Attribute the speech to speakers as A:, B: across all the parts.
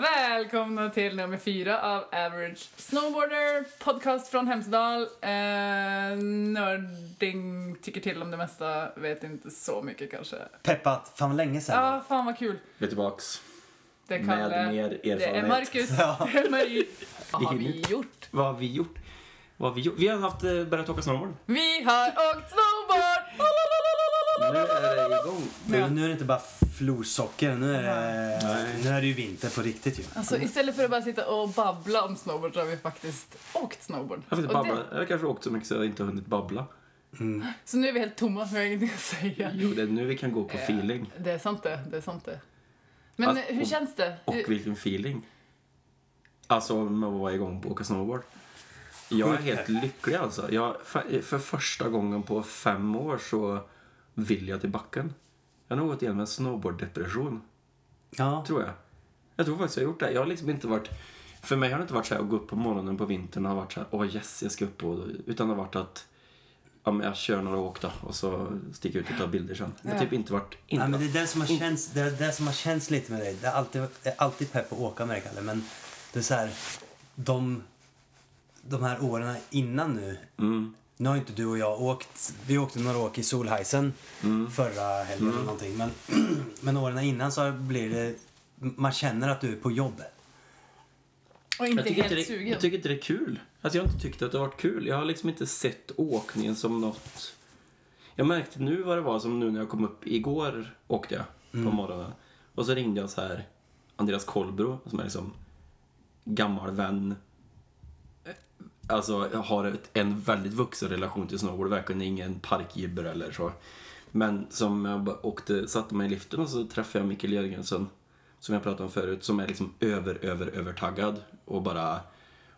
A: välkomna till nummer fyra av Average Snowboarder, podcast från Hemsedal. Eh, nörding, tycker till om det mesta, vet inte så mycket kanske.
B: Peppat, fan vad länge
A: Ja,
B: sedan.
A: ah, fan vad kul.
C: Vi är tillbaks.
A: Det är
C: Med
A: Kalle.
C: mer
A: Det är
C: erfarenhet.
A: Marcus.
B: Ja.
A: Det är Marie. Vad har
C: Vi
A: vi
C: hinner.
A: gjort?
C: Vad har vi gjort? Vad har vi gjort? Vi har haft, eh, börjat åka snowboard.
A: Vi har åkt snowboard! La, la, la, la, la, la,
C: Nu
A: la, la.
C: är det igång.
B: Nu,
A: Ja.
B: nu är det inte bara florsocker, nu är, det, nu är det ju vinter på riktigt ju.
A: Alltså istället för att bara sitta och babbla om snowboard så har vi faktiskt åkt snowboard.
C: Jag har inte
A: Och det-
C: babbla. Jag har kanske åkt så mycket så jag inte har hunnit babbla.
A: så nu är vi helt tomma, vi har ingenting att säga.
C: Jo, det är nu vi kan gå på feeling.
A: Det är sant det, det är sant det. Men
C: Alltså,
A: hur
C: och-
A: känns det?
C: Och
A: Hur-
C: vilken feeling. Alltså, med att vara igång på att åka snowboard. Jag är helt lycklig alltså. Jag, för för första gången på fem år så vill jag till backen. Jag har nog gått igenom en snowboarddepression.
B: Ja.
C: tror jag. Jag tror faktiskt jag har gjort det. Jag har liksom inte varit... För mig har det inte varit så här att gå upp på morgonen på vintern och ha varit så här, åh yes, jag ska upp och... Utan det har varit att, ja men jag kör några åk då och så sticker jag ut och tar bilder sen. Det har typ inte varit... Inte
B: Nej, men det
C: varit-
B: är det som har känts, det är det som har känts lite med dig. Det är alltid, det är alltid pepp att åka med dig Kalle, men det är så här, de, de här åren innan nu. Nu har inte du och jag åkt, vi åkte några åk i Solheisen förra helgen eller någonting. Men, men åren innan så blir det, man känner att du är på jobb.
A: Och
C: jag,
A: inte
C: tycker
A: helt
C: inte det,
A: sugen.
C: jag tycker inte det är kul. Alltså jag har inte tyckt att det har varit kul. Jag har liksom inte sett åkningen som något... Jag märkte nu vad det var som nu när jag kom upp. Igår åkte jag
B: Mm.
C: på morgonen. Och så ringde jag så här Andreas Kolbro som är liksom gammal vän. Eh, Alltså jag har ett, en väldigt vuxen relation till snowboard. Verkligen ingen parkgibber eller så. Men som jag bara åkte, satte mig i liften och så träffade jag Mikael Jörgensen. Som jag pratade om förut. Som är liksom över, över, övertaggad. Och bara...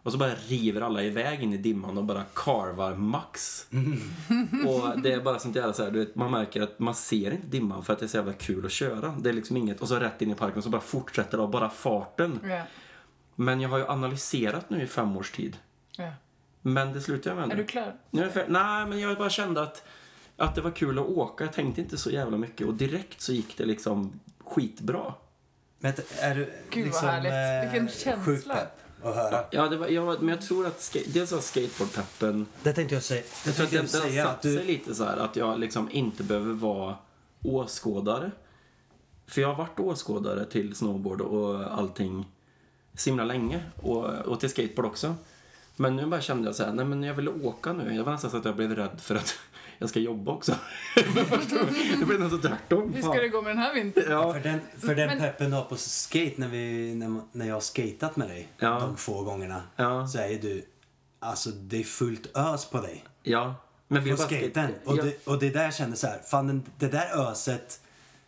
C: Och så bara river alla iväg in i dimman och bara karvar max. Och det är bara sånt jävla så här, du vet, man märker att man ser inte dimman för att det är så jävla kul att köra. Det är liksom inget, och så rätt in i parken och så bara fortsätter det av bara farten.
A: Ja,
C: Men jag har ju analyserat nu i fem års tid.
A: ja.
C: Men det slutar jag med nu.
A: Är du klar?
C: Nu är jag fär- Nej, men jag bara kände att, att det var kul att åka. Jag tänkte inte så jävla mycket och direkt så gick det liksom skitbra.
B: Men är du
A: Gud, vad
B: liksom
A: härligt. Vilken
B: sjukt
A: känsla.
B: pepp att höra?
C: Ja, det var, jag, var- men jag tror att ska, dels var skateboardpeppen
B: Det tänkte jag säga. Det
C: Jag tror att
B: tänkte jag
C: den, den
B: säga
C: har
B: att
C: satt sig
B: du,
C: lite så här att jag liksom inte behöver vara åskådare. För jag har varit åskådare till snowboard och allting så himla länge och, och till skateboard också. Men nu bara kände jag så här, nej men jag vill åka nu. Jag var nästan så att jag blev rädd för att jag ska jobba också. För första gången. det blev nästan tvärtom.
A: Hur
C: Fan.
A: ska det gå med den här vintern?
C: Ja.
B: för den, för den
A: Men-
B: peppen du har på skate när, vi, när, man- när jag har skatat med dig
C: Ja.
B: de få gångerna.
C: Ja.
B: Så är du, alltså det är fullt ös på dig.
C: ja. Men vi
B: På
C: bara ska-
B: skaten. Och,
C: Ja.
B: det, och det där jag känner så här, fan den, det där öset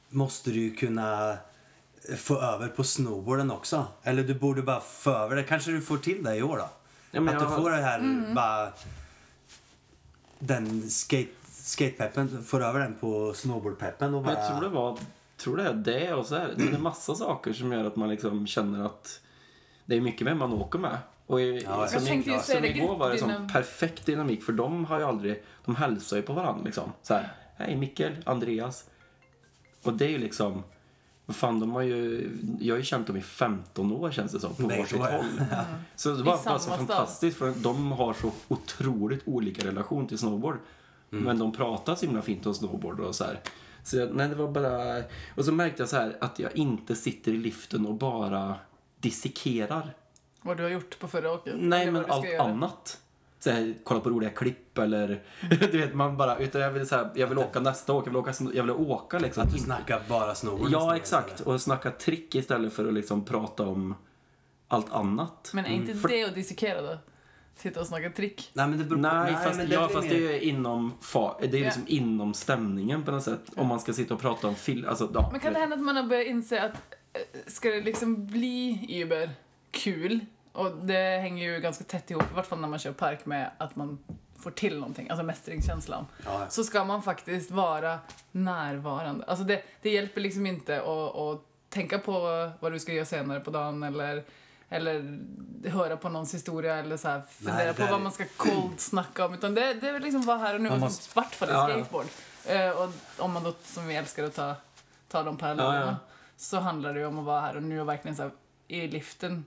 B: måste du ju kunna få över på snowboarden också. Eller du borde bara få över det. Kanske du får till det i år då.
C: Ja, men
B: att
C: jag
B: du
C: har-
B: får det här bara, den skate, skatepeppen, får över den på snowboardpeppen och
C: Men
B: bara...
C: jag tror det var, tror det är det och så här. Men det är massa saker som gör att man liksom känner att det är mycket vem man åker med. Och i,
B: ja.
C: som
B: Jag
A: tänkte ju
C: i,
A: säga
C: som
A: det,
C: igår var det
A: dina-
C: som perfekt dynamik för de har ju aldrig, de hälsar ju på varandra liksom. Så här, hej Mikael, Andreas. Och det är ju liksom, vad fan de har ju, jag har ju känt dem i 15 år känns det som, på
B: Nej,
C: varsitt
B: så är det.
C: håll. Så det var
A: samma
C: bara så
A: stad.
C: fantastiskt för de har så otroligt olika relation till snowboard. Men de pratar så himla fint om snowboard och så här. Så jag, nej, det var bara... Och så märkte jag så här att jag inte sitter i liften och bara dissekerar.
A: Vad du har gjort på förra åket?
C: Nej,
A: Eller
C: men
A: vad du ska
C: allt
A: göra.
C: annat. Så här, kolla på roliga klipp eller... du vet, man bara... Utan jag vill, så här, jag vill åka nästa år, jag vill åka, sn- jag vill åka liksom.
B: Att du
C: Inte-
B: snackar bara snowboard.
C: Ja, exakt. Och snacka trick istället för att liksom prata om allt annat.
A: Men är inte
C: Mm, för-
A: det att dissekera då? Sitta och snacka trick?
B: Nej, men det beror på...
C: Nej, fast,
B: men
C: det, ja,
B: blir
C: fast
B: mer-
C: det är inom, fa, det är liksom inom stämningen på något sätt. Om man ska sitta och prata om film. Alltså, ja,
A: Men kan det hända att man har börjat inse att eh, ska det liksom bli Uber kul, och det hänger ju ganska tätt ihop, i vart fall när man kör park, med att man får till någonting, alltså mästringskänslan,
B: Ja.
A: så ska man faktiskt vara närvarande. Alltså det, det hjälper liksom inte att, att tänka på vad du ska göra senare på dagen eller eller höra på någons historia eller så här, fundera
B: det
A: på
B: där
A: vad
B: är-
A: man ska cold snacka om. Utan det, det är liksom vara här och nu, och
B: måste-
A: i vart fall i
C: Ja, ja.
A: skateboard. Eh, och om man då, som vi älskar att ta, ta de parallellerna,
C: Ja, ja.
A: så handlar det ju om att vara här och nu och verkligen så här, i liften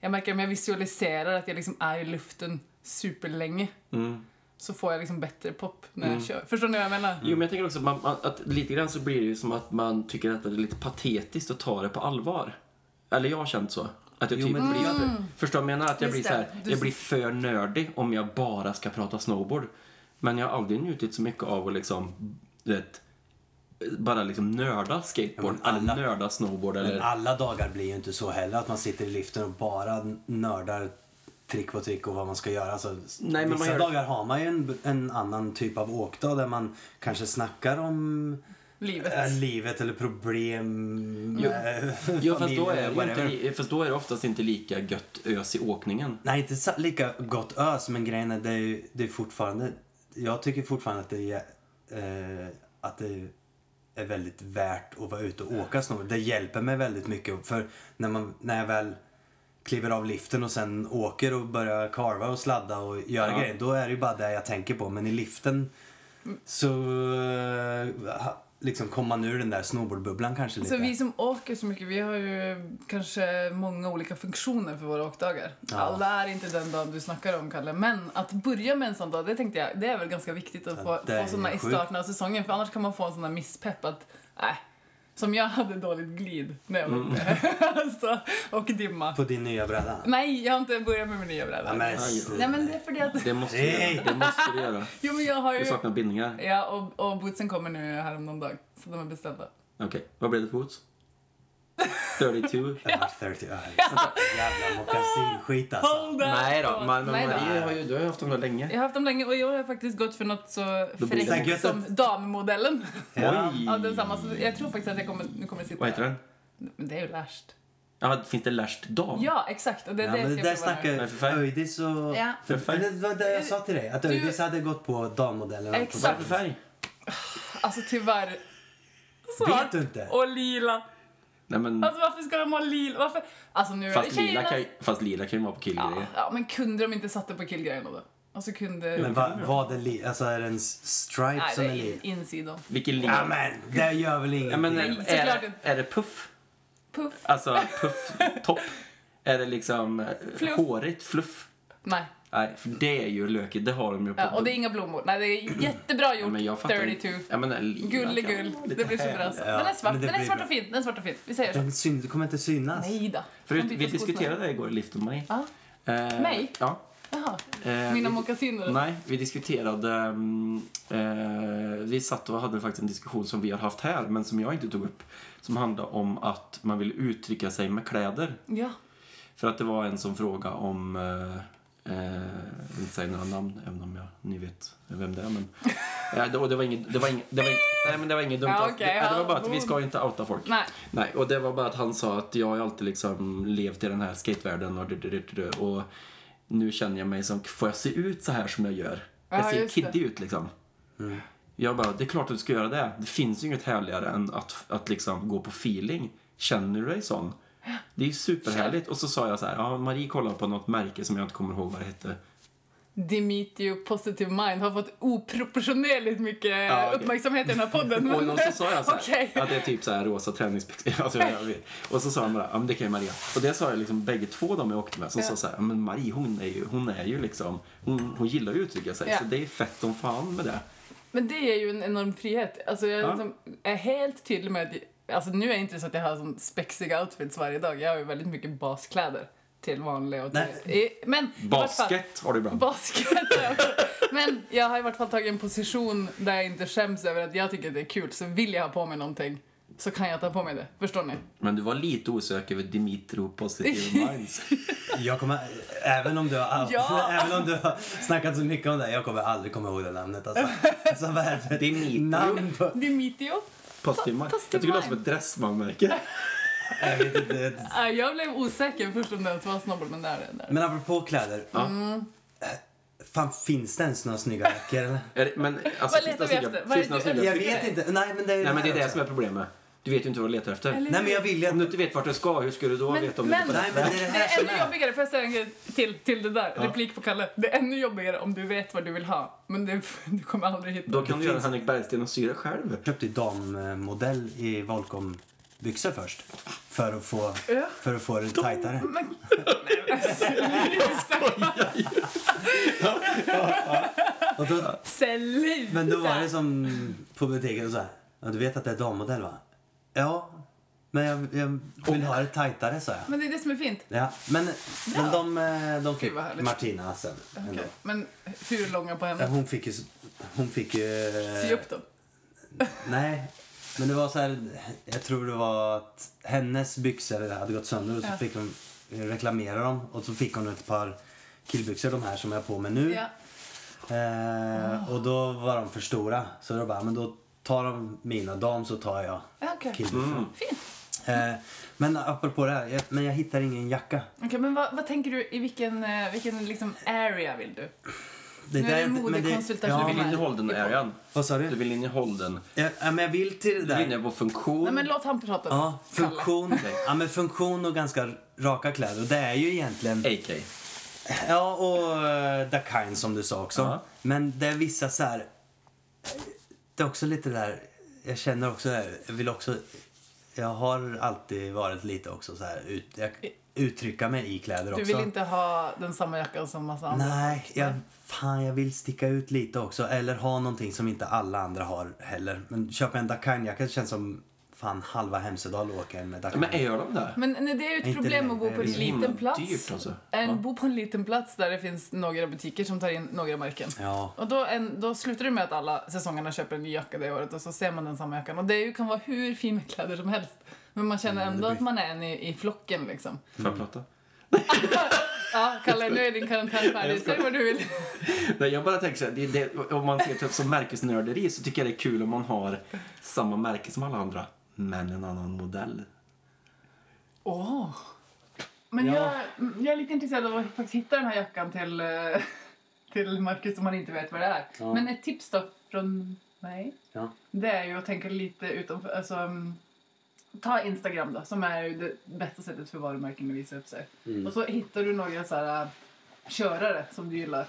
A: Jag märker om jag visualiserar att jag liksom är i luften superlänge
C: Mm.
A: så får jag liksom bättre pop när jag kör. Förstår ni vad jag menar?
C: Jo, men jag tänker också att, man, man- att lite grann så blir det ju som att man tycker att det är lite patetiskt att ta det på allvar. Eller jag har känt så. Att jag
B: Jo,
C: typ
B: men-
C: blir... Förstår du vad jag menar? Att jag
A: Mm. Just
C: blir, så här,
A: det. Du-
C: jag blir för nördig om jag bara ska prata snowboard. Men jag har aldrig njutit så mycket av att liksom, du vet, bara liksom nörda skateboard
B: Ja, men alla-
C: eller nörda snowboard eller...
B: Men alla dagar blir ju inte så heller att man sitter i liften och bara nördar trick på trick och vad man ska göra. Alltså,
C: Nej, men man
B: vissa
C: gör-
B: dagar har man ju en, en annan typ av åkdag där man kanske snackar om
A: Livet.
B: eh, livet eller problem,
C: Jo.
B: eh,
C: Jo, fast då, är det ju inte,
B: whatever.
C: li- fast då är det oftast inte lika gött ös i åkningen.
B: Nej, inte sa- lika gott ös, men grejen är det är, ju- det är fortfarande... Jag tycker fortfarande att det är, eh, att det är väldigt värt att vara ute och åka snowboard. Det hjälper mig väldigt mycket. För när, man, när jag väl kliver av liften och sen åker och börjar karva och sladda och göra
C: Ja.
B: grejer, då är det ju bara det jag tänker på. Men i liften så eh, ha- liksom kommer man ur den där snowboardbubblan kanske lite.
A: Så vi som åker så mycket, vi har ju kanske många olika funktioner för våra åkdagar.
B: Ja.
A: Alla är inte den dagen du snackar om, Kalle. Men att börja med en sån dag, det tänkte jag, det är väl ganska viktigt att
B: Ja,
A: få,
B: det är
A: få såna i
B: sjukt.
A: starten av säsongen. För annars kan man få en sån där misspepp att, äh, som jag hade dåligt glid när jag var
B: Mm.
A: ute. alltså, och dimma.
B: På din nya bräda?
A: Nej, jag har inte börjat med min nya
B: Ja,
A: bräda.
B: men,
A: Mm. Nej men det är för det att,
C: Det måste du
B: Nej.
C: göra. Det måste du göra.
A: jo men jag har
C: Du
A: ju,
C: saknar bindningar.
A: ja och, och bootsen kommer nu här om någon dag. Så de är beställda.
C: Okej, vad blev det för boots? 32?
B: Den var 30 öre. Alltså, Jävla mockasinskit alltså.
A: Hold that
C: Nej då,
A: thought.
C: men men
A: Nej då.
C: Marie har ju, du har ju haft dem där
A: Jag
C: länge.
A: har haft dem länge och jag har faktiskt gått för något så
C: Då blir det
A: fräckt
B: gött
A: som dammodellen.
B: Ja.
A: Av densamma. Så jag tror faktiskt att jag kommer, nu kommer jag sitta...
C: Vad heter den?
A: Men det är ju lärst.
C: Ja, finns det Lärst dam?
A: Ja, exakt. Och det är
B: Ja,
A: det jag
B: men det
A: ska
B: där
A: prova nu.
B: snackar
C: Nej, för fan.
B: Öjdis och...
A: Ja.
B: För fan. Det var det jag sa till dig, att
A: Du-
B: Öjdis hade gått på dammodellen.
C: Vad är det
A: Exakt.
C: för färg?
A: Alltså tyvärr.
B: Vet du inte?
A: Och lila.
C: Nej, men,
A: Alltså varför ska de ha lila? Varför? Alltså nu är
C: fast,
A: det
C: lila
A: tjejernas...
C: kan, ju- fast lila kan ju vara på
A: ja,
C: killgrejer.
A: ja, men kunde de inte satte på killgrejerna då? Alltså kunde...
B: Men vad va det li... Alltså är det en s- stripe
A: Nej,
B: som
A: det
B: är
A: är
B: li...
A: in, insidan.
C: Vilken lila?
B: Ja men det gör väl ingenting.
C: Ja, men är,
A: Nej, såklart
C: är,
A: inte.
C: är det puff?
A: Puff.
C: Alltså puff-topp? är det liksom eh,
A: Fluff.
C: hårigt fluff?
A: Nej.
C: Nej, för det är ju lökigt. Det har de ju på...
A: Ja, och det är inga blommor. Nej, det är jättebra
C: Ja,
A: gjort.
C: men jag fattar inte.
A: 32.
C: Ja, men den lila
A: Gullig
C: kan
A: gull.
C: vara lite
A: Det blir så
C: härlig.
A: bra. Alltså.
B: Ja,
A: den är svart,
B: men det
A: den är
B: blir
A: svart
B: bra.
A: och fin. Den är svart och fin. Vi säger så.
B: Den syn... det kommer inte synas.
A: Nej då.
C: Förut,
A: De byter
C: vi
A: skosnöre.
C: diskuterade det igår i liften, Marie.
A: Ja.
C: Eh,
A: Mig?
C: Ja.
A: Jaha.
C: Eh,
A: Mina
C: vi-
A: mockasiner?
C: Nej, vi diskuterade... mm, eh, vi satt och hade faktiskt en diskussion som vi har haft här, men som jag inte tog upp. Som handlade om att man vill uttrycka sig med kläder.
A: Ja.
C: För att det var en som frågade om... Eh, eh, jag vill inte säga några namn, även om jag, ni vet vem det är. Men, ja, det, och det var inget... Det var inget, det var inget nej, men det var inget dumt.
A: Ja,
C: alls.
A: okej,
C: det, det var
A: ja.
C: bara att vi ska ju inte outa folk.
A: Nej.
C: Nej, och det var bara att han sa att jag har ju alltid liksom levt i den här skatevärlden och, du- du- du- du- och nu känner jag mig som, får jag se ut så här som jag gör?
A: Ja,
C: Jag ser
A: just det.
C: kiddig ut liksom. Jag bara, det är klart att du ska göra det. Det finns ju inget härligare än att, att liksom gå på feeling. Känner du dig sån? Det är ju superhärligt. Och så sa jag så här, ja, Marie kollade på något märke som jag inte kommer ihåg vad det hette.
A: Dimitio Positive Mind har fått oproportionerligt mycket
C: Ja, Ah, okej.
A: uppmärksamhet i den här podden.
C: Och och så sa jag så här,
A: Okej.
C: att det är typ så här rosa träningsbyxor. Alltså, jag vet. och så sa han bara, ja men det kan ju Maria. Och det sa jag liksom bägge två de jag åkte med som
A: Ja.
C: sa så här, ja men Marie hon är ju, hon är ju liksom, hon, hon gillar ju att uttrycka sig.
A: Ja.
C: Så det är fett som fan med det.
A: Men det är ju en enorm frihet. Alltså jag
C: Ja.
A: liksom är helt tydlig med att... Alltså nu är det inte så att jag har sån spexiga outfits varje dag. Jag har ju väldigt mycket baskläder till vanliga och till... I- Men i vart fall-
C: Basket har du ibland.
A: Basket har jag också. Men jag har i vart fall tagit en position där jag inte skäms över att jag tycker att det är kul. Så vill jag ha på mig någonting så kan jag ta på mig det. Förstår ni?
C: Men du var lite osöker över Dimitro Positive Minds.
B: Jag kommer... Även om du har...
A: Ja.
B: Även om du har snackat så mycket om det, jag kommer aldrig komma ihåg det namnet alltså. alltså vad är det för
C: Det är mitt
B: namn på...
A: Dimitio?
C: Positive Minds. Jag tycker det låter som ett dressmanmärke.
B: Jag vet inte. det-
A: Ah, jag blev osäker först om det ens var snobbel, men där är det. Där.
B: Men apropå kläder. Eh,
C: Ja.
B: Fan, finns det ens några snygga jackor eller?
C: Är det- Men alltså,
A: Vad
C: finns
A: letar
C: det
A: vi
C: snygga-
A: efter? Vad är
C: finns det några
A: det du
C: snygga-
B: Jag vet inte. Nej, men det är
C: Nej men det är
B: här
C: det som är problemet. Du vet ju inte vad du letar efter.
A: Eller-
B: Nej, men jag vill ju
C: Om du inte vet vart du ska, hur ska du då
A: Men-
C: veta om
A: men-
C: du är på rätt
B: Nej, men det är det
A: Det
B: här
A: är
B: som
A: ännu
B: är...
A: jobbigare, får jag säga en grej till, till det där? Replik på Kalle. Det är ännu jobbigare om du vet vad du vill ha, men det, du kommer aldrig hitta.
C: Då kan du göra Henrik Bergsten och syra själv.
B: Jag köpte ju dammodell i Volcom byxor först. För att få,
A: Ja.
B: för att få det tajtare.
A: Men,
B: Och då,
A: Sluta!
B: men då var det som på butiken och så här. Ja, du vet att det är dammodell va? Ja, men jag, jag vill ha det tajtare sa jag.
A: Men det är det som är fint.
B: Ja, men, men de, eh, de fick
A: Gud, vad härligt.
B: Martina sen. ändå.
A: Okej, Men hur långa på
B: Ja,
A: henne?
B: Hon fick ju... Hon fick ju... eh,
A: Sy upp dem.
B: Nej, men det var så här... Jag tror det var att hennes byxor hade gått sönder och så
A: Ja.
B: fick hon reklamera dem och så fick hon ett par killbyxor, de här som jag har på mig nu.
A: Ja.
B: Eh, och då var de för stora så då bara, men då tar de mina dam så tar jag
A: Ja, Okej,
B: killbyxorna.
A: fint.
B: Eh, men apropå det här, jag, men jag hittar ingen jacka.
A: Okej, men vad, vad tänker du, i vilken, eh, vilken liksom area vill du?
B: Det
A: Nu är det
B: men
A: modekonsultation.
C: Du
B: Ja,
C: vill in i Holden, Arian.
B: vad sa
C: Du
B: du?
C: vill in i Holden.
B: Ja, ja, men jag vill till det
C: Du
B: där.
C: vill in på funktion.
A: Nej, men låt han prata.
B: Ja,
A: Kalle.
B: funktion, ja, men funktion och ganska raka kläder. Och det är ju egentligen...
C: AK.
B: Ja, och eh, the kind som du sa också.
C: Ja.
B: Men det är vissa så här... Det är också lite där... Jag känner också det här, Jag vill också... Jag har alltid varit lite också så här... Ut, jag uttrycka mig i kläder också.
A: Du vill inte ha den samma jackan som massa andra?
B: Nej, jag, fan jag vill sticka ut lite också. Eller ha någonting som inte alla andra har heller. Men köpa en Dakan-jacka känns som... Fan, halva Hemsedal åker med Dakan.
C: Men är de där?
A: Men nej, det är ju ett
B: Inte
A: problem
B: längre.
A: att bo på en
B: Det är så
C: himla
A: liten plats.
C: dyrt, alltså.
A: En,
C: Ja.
A: Bo på en liten plats där det finns några butiker som tar in några märken.
B: Ja.
A: Och då, en, då slutar det med att alla säsongerna köper en ny jacka det året och så ser man den samma jackan. Och det är ju, kan vara hur fin med kläder som helst. Men man känner
B: Mm,
A: ändå att man är en i, i flocken liksom.
C: Får jag prata?
A: Ja, Kalle, nu är din karantän
C: Jag
A: färdig.
C: skojar.
A: Säg vad du vill.
C: Nej, jag bara tänker så här, det, det, om man ser typ som märkesnörderi så tycker jag det är kul om man har samma märke som alla andra, men en annan modell.
A: Åh! Men
B: Ja.
A: jag, jag är lite intresserad av att faktiskt hitta den här jackan till, eh, till Marcus om han inte vet vad det är.
B: Ja.
A: Men ett tips då från mig,
B: Ja.
A: det är ju att tänka lite utanför, alltså mm, ta Instagram då, som är ju det bästa sättet för varumärken att visa upp sig.
B: Mm.
A: Och så hittar du några så här äh, körare som du gillar.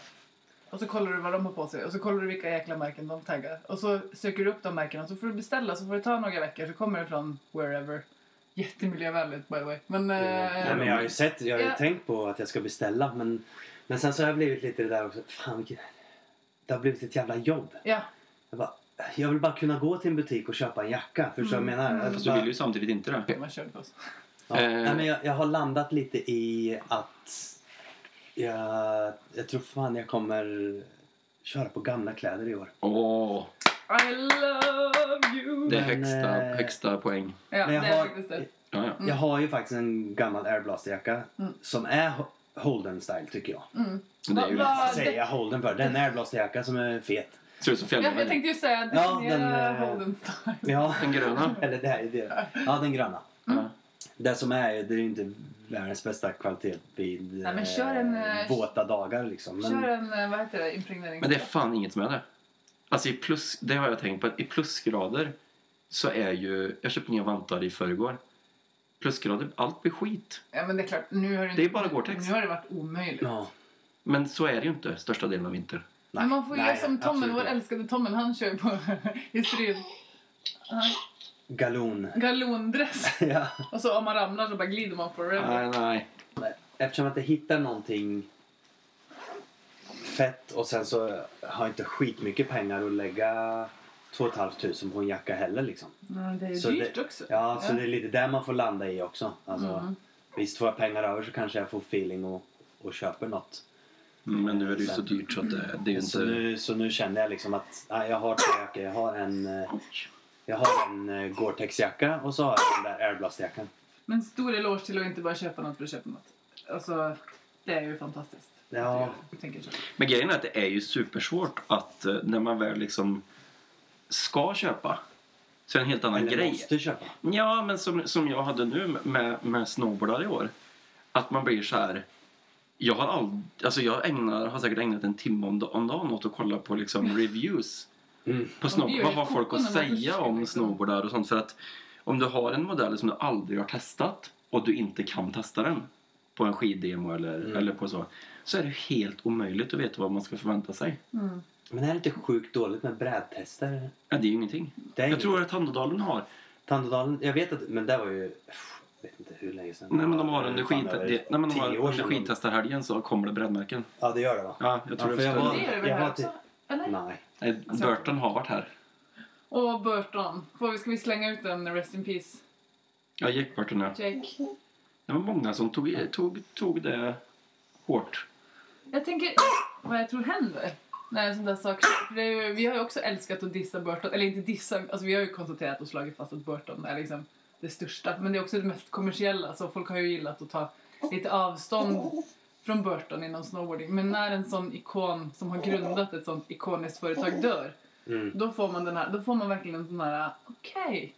A: Och så kollar du vad de har på sig och så kollar du vilka jäkla märken de taggar. Och så söker du upp de märkena så får du beställa så får det ta några veckor så kommer det från wherever. Jättemiljövänligt by the way. Men, eh,
B: Mm. Nej, men jag har ju sett, jag har ju
A: Ja.
B: tänkt på att jag ska beställa men, men sen så har jag blivit lite det där också, fan vilket, det har blivit ett jävla jobb.
A: Ja,
B: Jag, bara, jag vill bara kunna gå till en butik och köpa en jacka, förstår du vad jag menar?
A: Mm.
B: Jag
C: Fast du
B: bara,
C: vill ju samtidigt inte det.
A: man körde på oss.
B: ja.
C: Eh.
B: Nej, men jag, jag har landat lite i att jag, jag tror fan jag kommer köra på gamla kläder i år.
C: Åh,
A: I love you!
C: det är
B: Men,
C: högsta,
B: eh,
C: högsta poäng.
A: ja,
B: men jag
A: det är
B: har-
A: faktiskt det.
C: Ja, ja.
B: Jag har ju faktiskt en gammal airblasterjacka
A: Mm.
B: som är Ho- Holden style tycker jag.
A: Mm.
C: Det är ju
A: Va- va-
C: lite,
A: Ja, det-
B: Säger jag Holden för. Det är en airblast-jacka som är fet.
C: ser ut som
A: Ja, jag
C: fjällräven.
A: tänkte ju säga
B: Ja,
A: definiera
B: den, eh,
A: Holden Star.
B: Ja.
C: Den gröna.
A: Mm.
B: Eller det här är det. Ja, den gröna.
C: Ja.
B: Det som är, det är ju inte världens bästa kvalitet vid
A: Nej, men
B: eh,
A: kör en, eh,
B: våta dagar liksom. Men,
A: Kör en, eh, vad heter det, impregnering.
C: Men det är fan inget med det. Alltså i plus, det har jag tänkt på, att i plusgrader så är ju, jag köpte nya vantar i förrgår. Plusgrader, allt blir skit.
A: Ja, men det är klart, nu har det,
C: Det är
A: inte-
C: bara Gore-Tex.
A: Nu har det varit omöjligt.
B: ja.
C: Men så är det ju inte största delen av vintern.
A: men man får ju
B: Nej,
A: göra som
B: absolut
A: Tommen, vår
B: inte.
A: älskade Tommen, han kör ju på i strid.
B: Galon.
A: Galondress.
B: ja.
A: Och så om man ramlar så bara glider man på det.
C: Nej, nej.
B: Eftersom att jag hittar någonting fett och sen så har jag inte skitmycket pengar att lägga 2 500 på en jacka heller liksom.
A: Men det är
B: Så
A: dyrt
B: det-
A: också.
B: Ja, så det är lite där man får landa i också. Alltså,
A: Mm.
B: Visst, får jag pengar över så kanske jag får feeling och, och köper något.
C: Mm, Men nu är det ju så dyrt så att det, det är ju
B: Så
C: inte...
B: nu, så nu känner jag liksom att nej, jag har tre jackor. Jag har en, eh, jag har en eh, Gore-Tex-jacka och så har jag den där Airblast-jackan.
A: Men stor eloge till att inte bara köpa något för att köpa något. Alltså, det är ju fantastiskt.
B: Ja.
A: Jag tänker så.
C: Men grejen är att det är ju supersvårt att eh, när man väl liksom ska köpa så är det en helt annan
B: Eller
C: grej.
B: måste köpa.
C: Ja, men som, som jag hade nu med, med snowboardar i år. Att man blir så här... Jag har aldrig, alltså jag ägnar, har säkert ägnat en timme om, da- om dagen åt att kolla på liksom reviews
B: Mm.
C: på
A: det
C: snowboard.
A: gör
C: Vad
A: ju
C: har folk
A: kokon
C: att
A: när man
C: säga
A: försöker,
C: om
A: liksom.
C: snowboardar och sånt? För att om du har en modell som du aldrig har testat och du inte kan testa den på en skiddemo eller,
B: Mm.
C: eller på så, så är det helt omöjligt att veta vad man ska förvänta sig.
A: Mm.
B: Men är det inte sjukt dåligt med brädtester?
C: Ja, det är ju ingenting.
B: Det är
C: Jag
B: inget.
C: tror att Tandådalen har
B: Tandådalen, jag vet att, men det var ju... Jag vet inte hur länge sedan.
C: Nej men de har under
B: Fan, det var ju
C: skit- nej, men de har
B: tio år
C: under
B: sedan
C: skittestarhelgen så kommer det brännmärken.
B: de- Ja, det gör det va?
C: Ja, jag tror
B: Ja,
C: det.
B: för jag
C: är
B: var-
A: Det gör det väl
B: Jag har
A: här
B: till-
A: också? Eller?
B: Nej.
C: Nej, Burton har varit här.
A: Åh, Burton. Får vi, ska vi slänga ut en Rest in Peace,
C: Ja, Jack Burton ja.
A: Jake?
C: Det var många som tog, tog, tog det hårt.
A: Jag tänker vad jag tror händer när sådana där saker... För det är ju, vi har ju också älskat att dissa Burton. Eller inte dissa, alltså vi har ju konstaterat och slagit fast att Burton är liksom det största. Men det är också det mest kommersiella, så folk har ju gillat att ta lite avstånd från Burton inom snowboarding. Men när en sån ikon som har grundat ett sånt ikoniskt företag dör,
B: Mm.
A: då får man, den här, då får man verkligen en sån här, okej,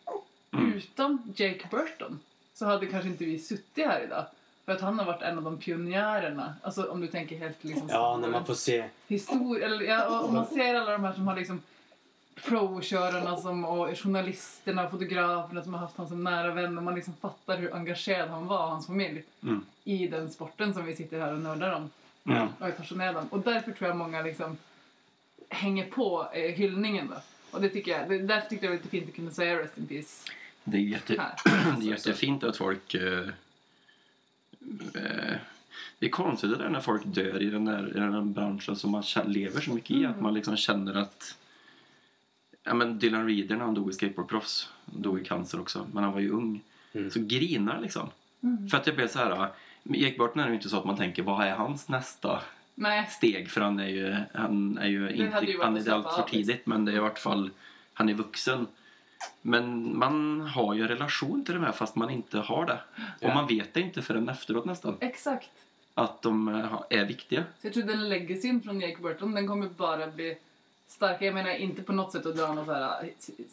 A: utan Jake Burton så hade kanske inte vi suttit här idag. För att han har varit en av de pionjärerna. Alltså om du tänker helt liksom...
B: Ja, när man får se.
A: Histori- eller, ja, och- och man ser alla de här som har liksom pro-körarna som, och journalisterna och fotograferna som har haft honom som nära vän och man liksom fattar hur engagerad han var och hans familj
C: Mm.
A: i den sporten som vi sitter här och nördar om
C: Mm.
A: och är passionerade om. Och därför tror jag många liksom hänger på eh, hyllningen då. Och det tycker jag, det, därför tyckte jag det var lite fint att kunna säga Rest in Peace
C: Det är, jätte,
A: här.
C: det är jättefint att folk... Eh, eh, det är konstigt det där när folk dör i den där, i den där branschen som man känner, lever så mycket i. Att man liksom känner att... Ja, men Dylan Reeder när han dog i skateboardproffs, han dog i cancer också, men han var ju ung.
B: Mm.
C: Så grinar liksom.
A: Mm.
C: För att jag blev så här... Jake Burton är det ju inte så att man tänker vad är hans nästa
A: Nej,
C: steg för han är ju, han är ju
A: hade ju
C: inte,
A: varit
C: han
A: att
C: är
A: släppa
C: allt för
A: av, liksom.
C: tidigt men det är i vart fall, han är vuxen. Men man har ju en relation till de här fast man inte har det.
B: Ja.
C: Och man vet det inte förrän efteråt nästan.
A: exakt.
C: Att de eh, ha- är viktiga.
A: Så jag tror den legacyn från Jake Burton den kommer bara bli starkare. Jag menar inte på något sätt att dra någon så här eh,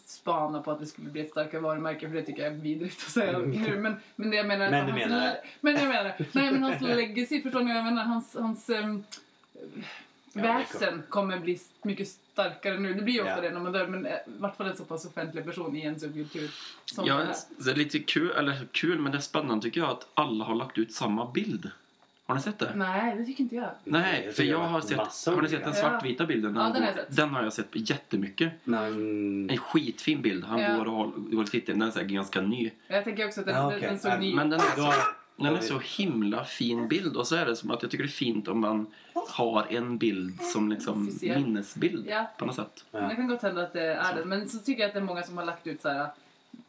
A: spana på att det skulle bli ett starkare varumärke för det tycker jag är vidrigt att säga nu. Men, men det jag menar...
B: Mm. Men du
A: hans,
B: menar det.
A: Men jag menar det. Nej men hans legacy, förstår ni vad jag menar? Hans, hans ehm,
B: Ja,
A: väsen kommer bli mycket starkare nu. Det blir ju ofta
B: Ja.
A: det när man dör men eh, i vart fall en så pass offentlig person i en subkultur som
C: Ja,
A: det här.
C: det är lite kul, eller kul men det är spännande tycker jag att alla har lagt ut samma bild. Har ni sett det?
A: Nej, det tycker inte jag.
C: Nej, för jag har
B: Massor
C: sett, har ni sett den
A: olika.
C: svartvita bilden? när
A: Ja,
C: han
A: den har
C: går?
A: jag sett.
C: den har jag sett jättemycket.
B: Nej,
C: En skitfin bild. Han
A: Ja.
C: går och håller, går och tittar, den är säkert ganska ny.
A: Jag tänker också att den,
B: Ja,
A: den-
B: okej.
A: den såg ny
C: Men den är
B: då,
C: Den är så himla fin bild och så är det som att jag tycker det är fint om man har en bild som liksom
A: Officiell.
C: minnesbild
A: Ja.
C: på något sätt.
A: Men Det
B: ja.
A: kan gott hända att det är det. Men så tycker jag att det är många som har lagt ut så här, äh,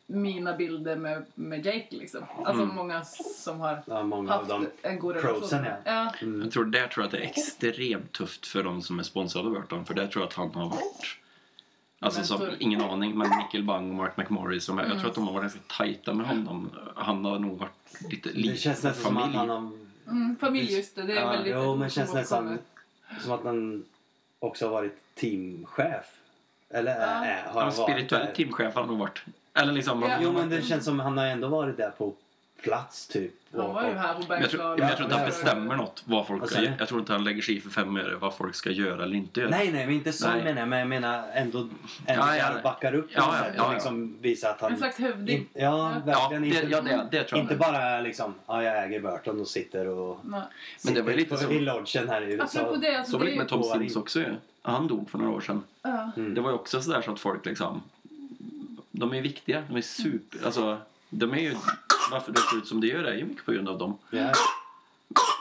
A: mina bilder med, med Jake. Liksom. Alltså
C: Mm.
A: många som har
B: ja, många av
A: haft
B: dem.
A: en god
B: prosen,
A: relation.
B: ja.
A: ja.
B: Mm.
C: Jag tror där tror jag att det är extremt tufft för de som är sponsrade av Burton för där tror jag att han har varit Alltså som,
A: Mentor.
C: ingen aning, men Nickel Bang och Mark McMorris de här, jag tror att de har varit ganska tajta med honom. Han har nog varit lite
B: Det
C: lite
B: känns nästan som att
C: familj.
B: han har
A: Mm, familj, just det. Det är
C: Ja,
A: väldigt...
B: Jo, men känns nästan
A: återkommande.
B: som att han också har varit teamchef. Eller
A: Ja.
B: äh, har han
C: Han var spirituell
B: varit där?
C: teamchef har han nog varit. Eller liksom,
A: Ja.
B: Jo, men det känns som att han har ändå varit där på plats typ.
A: Han var ju här på
C: Men jag, tror, men jag tror inte han
B: Ja,
C: bestämmer något. Vad folk
B: Vad
C: ska,
B: säger du?
C: jag tror inte han lägger sig i för fem öre vad folk ska göra eller inte göra.
B: Nej, nej, men inte så
C: Nej.
B: menar jag. Men jag menar ändå, ändå
C: Ja, ja.
B: där backar upp på
C: Ja,
B: något
C: ja,
B: sätt
C: ja,
B: och
C: ja.
B: liksom visar att
A: En
B: han...
A: slags hövding.
B: In, ja,
C: Ja,
B: verkligen.
C: det,
B: inte,
C: ja, det, det tror jag.
B: inte bara liksom, ja, jag äger Burton och sitter och...
A: Ja.
C: Men det var
B: sitter
C: ju lite
B: på-
C: så-
B: I lodgen här i USA.
A: Apropå det, alltså,
C: Så var
A: det
C: det
A: är
C: lite
A: ju...
C: med Tom
B: Boring.
C: Sims också ju. Han dog för några år sedan.
A: Ja.
B: Mm.
C: Det var ju också sådär så att folk liksom... De är viktiga. De är super... Alltså, de är ju... Varför det ser ut som det gör är ju mycket på grund av dem.
B: Ja,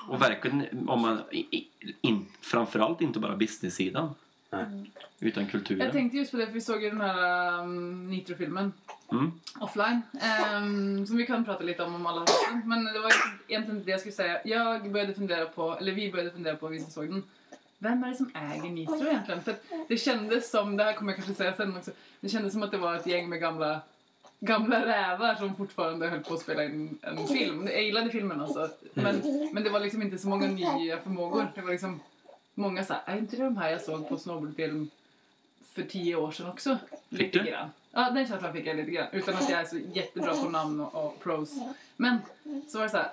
C: Och verkligen om man... i- i- In, framförallt inte bara business-sidan.
B: Nej.
C: Utan kulturen.
A: Jag tänkte just på det, för vi såg ju den här um, Nitro-filmen.
C: Mm.
A: offline. ehm, som vi kan prata lite om om alla avsnitten. Men det var ju egentligen inte det jag skulle säga. Jag började fundera på, eller vi började fundera på, vi som såg den. Vem är det som äger Nitro egentligen? För att det kändes som, det här kommer jag kanske säga sen också. Det kändes som att det var ett gäng med gamla gamla rävar som fortfarande höll på att spela in en film. Jag gillade filmen alltså. Men, men det var liksom inte så många nya förmågor. Det var liksom många så här, är inte det de här jag såg på snowboardfilm för tio år sedan också? Lite
C: du?
A: grann. Ja, den känslan fick jag lite grann. Utan att jag är så jättebra på namn och, och pros. Men så var det så här,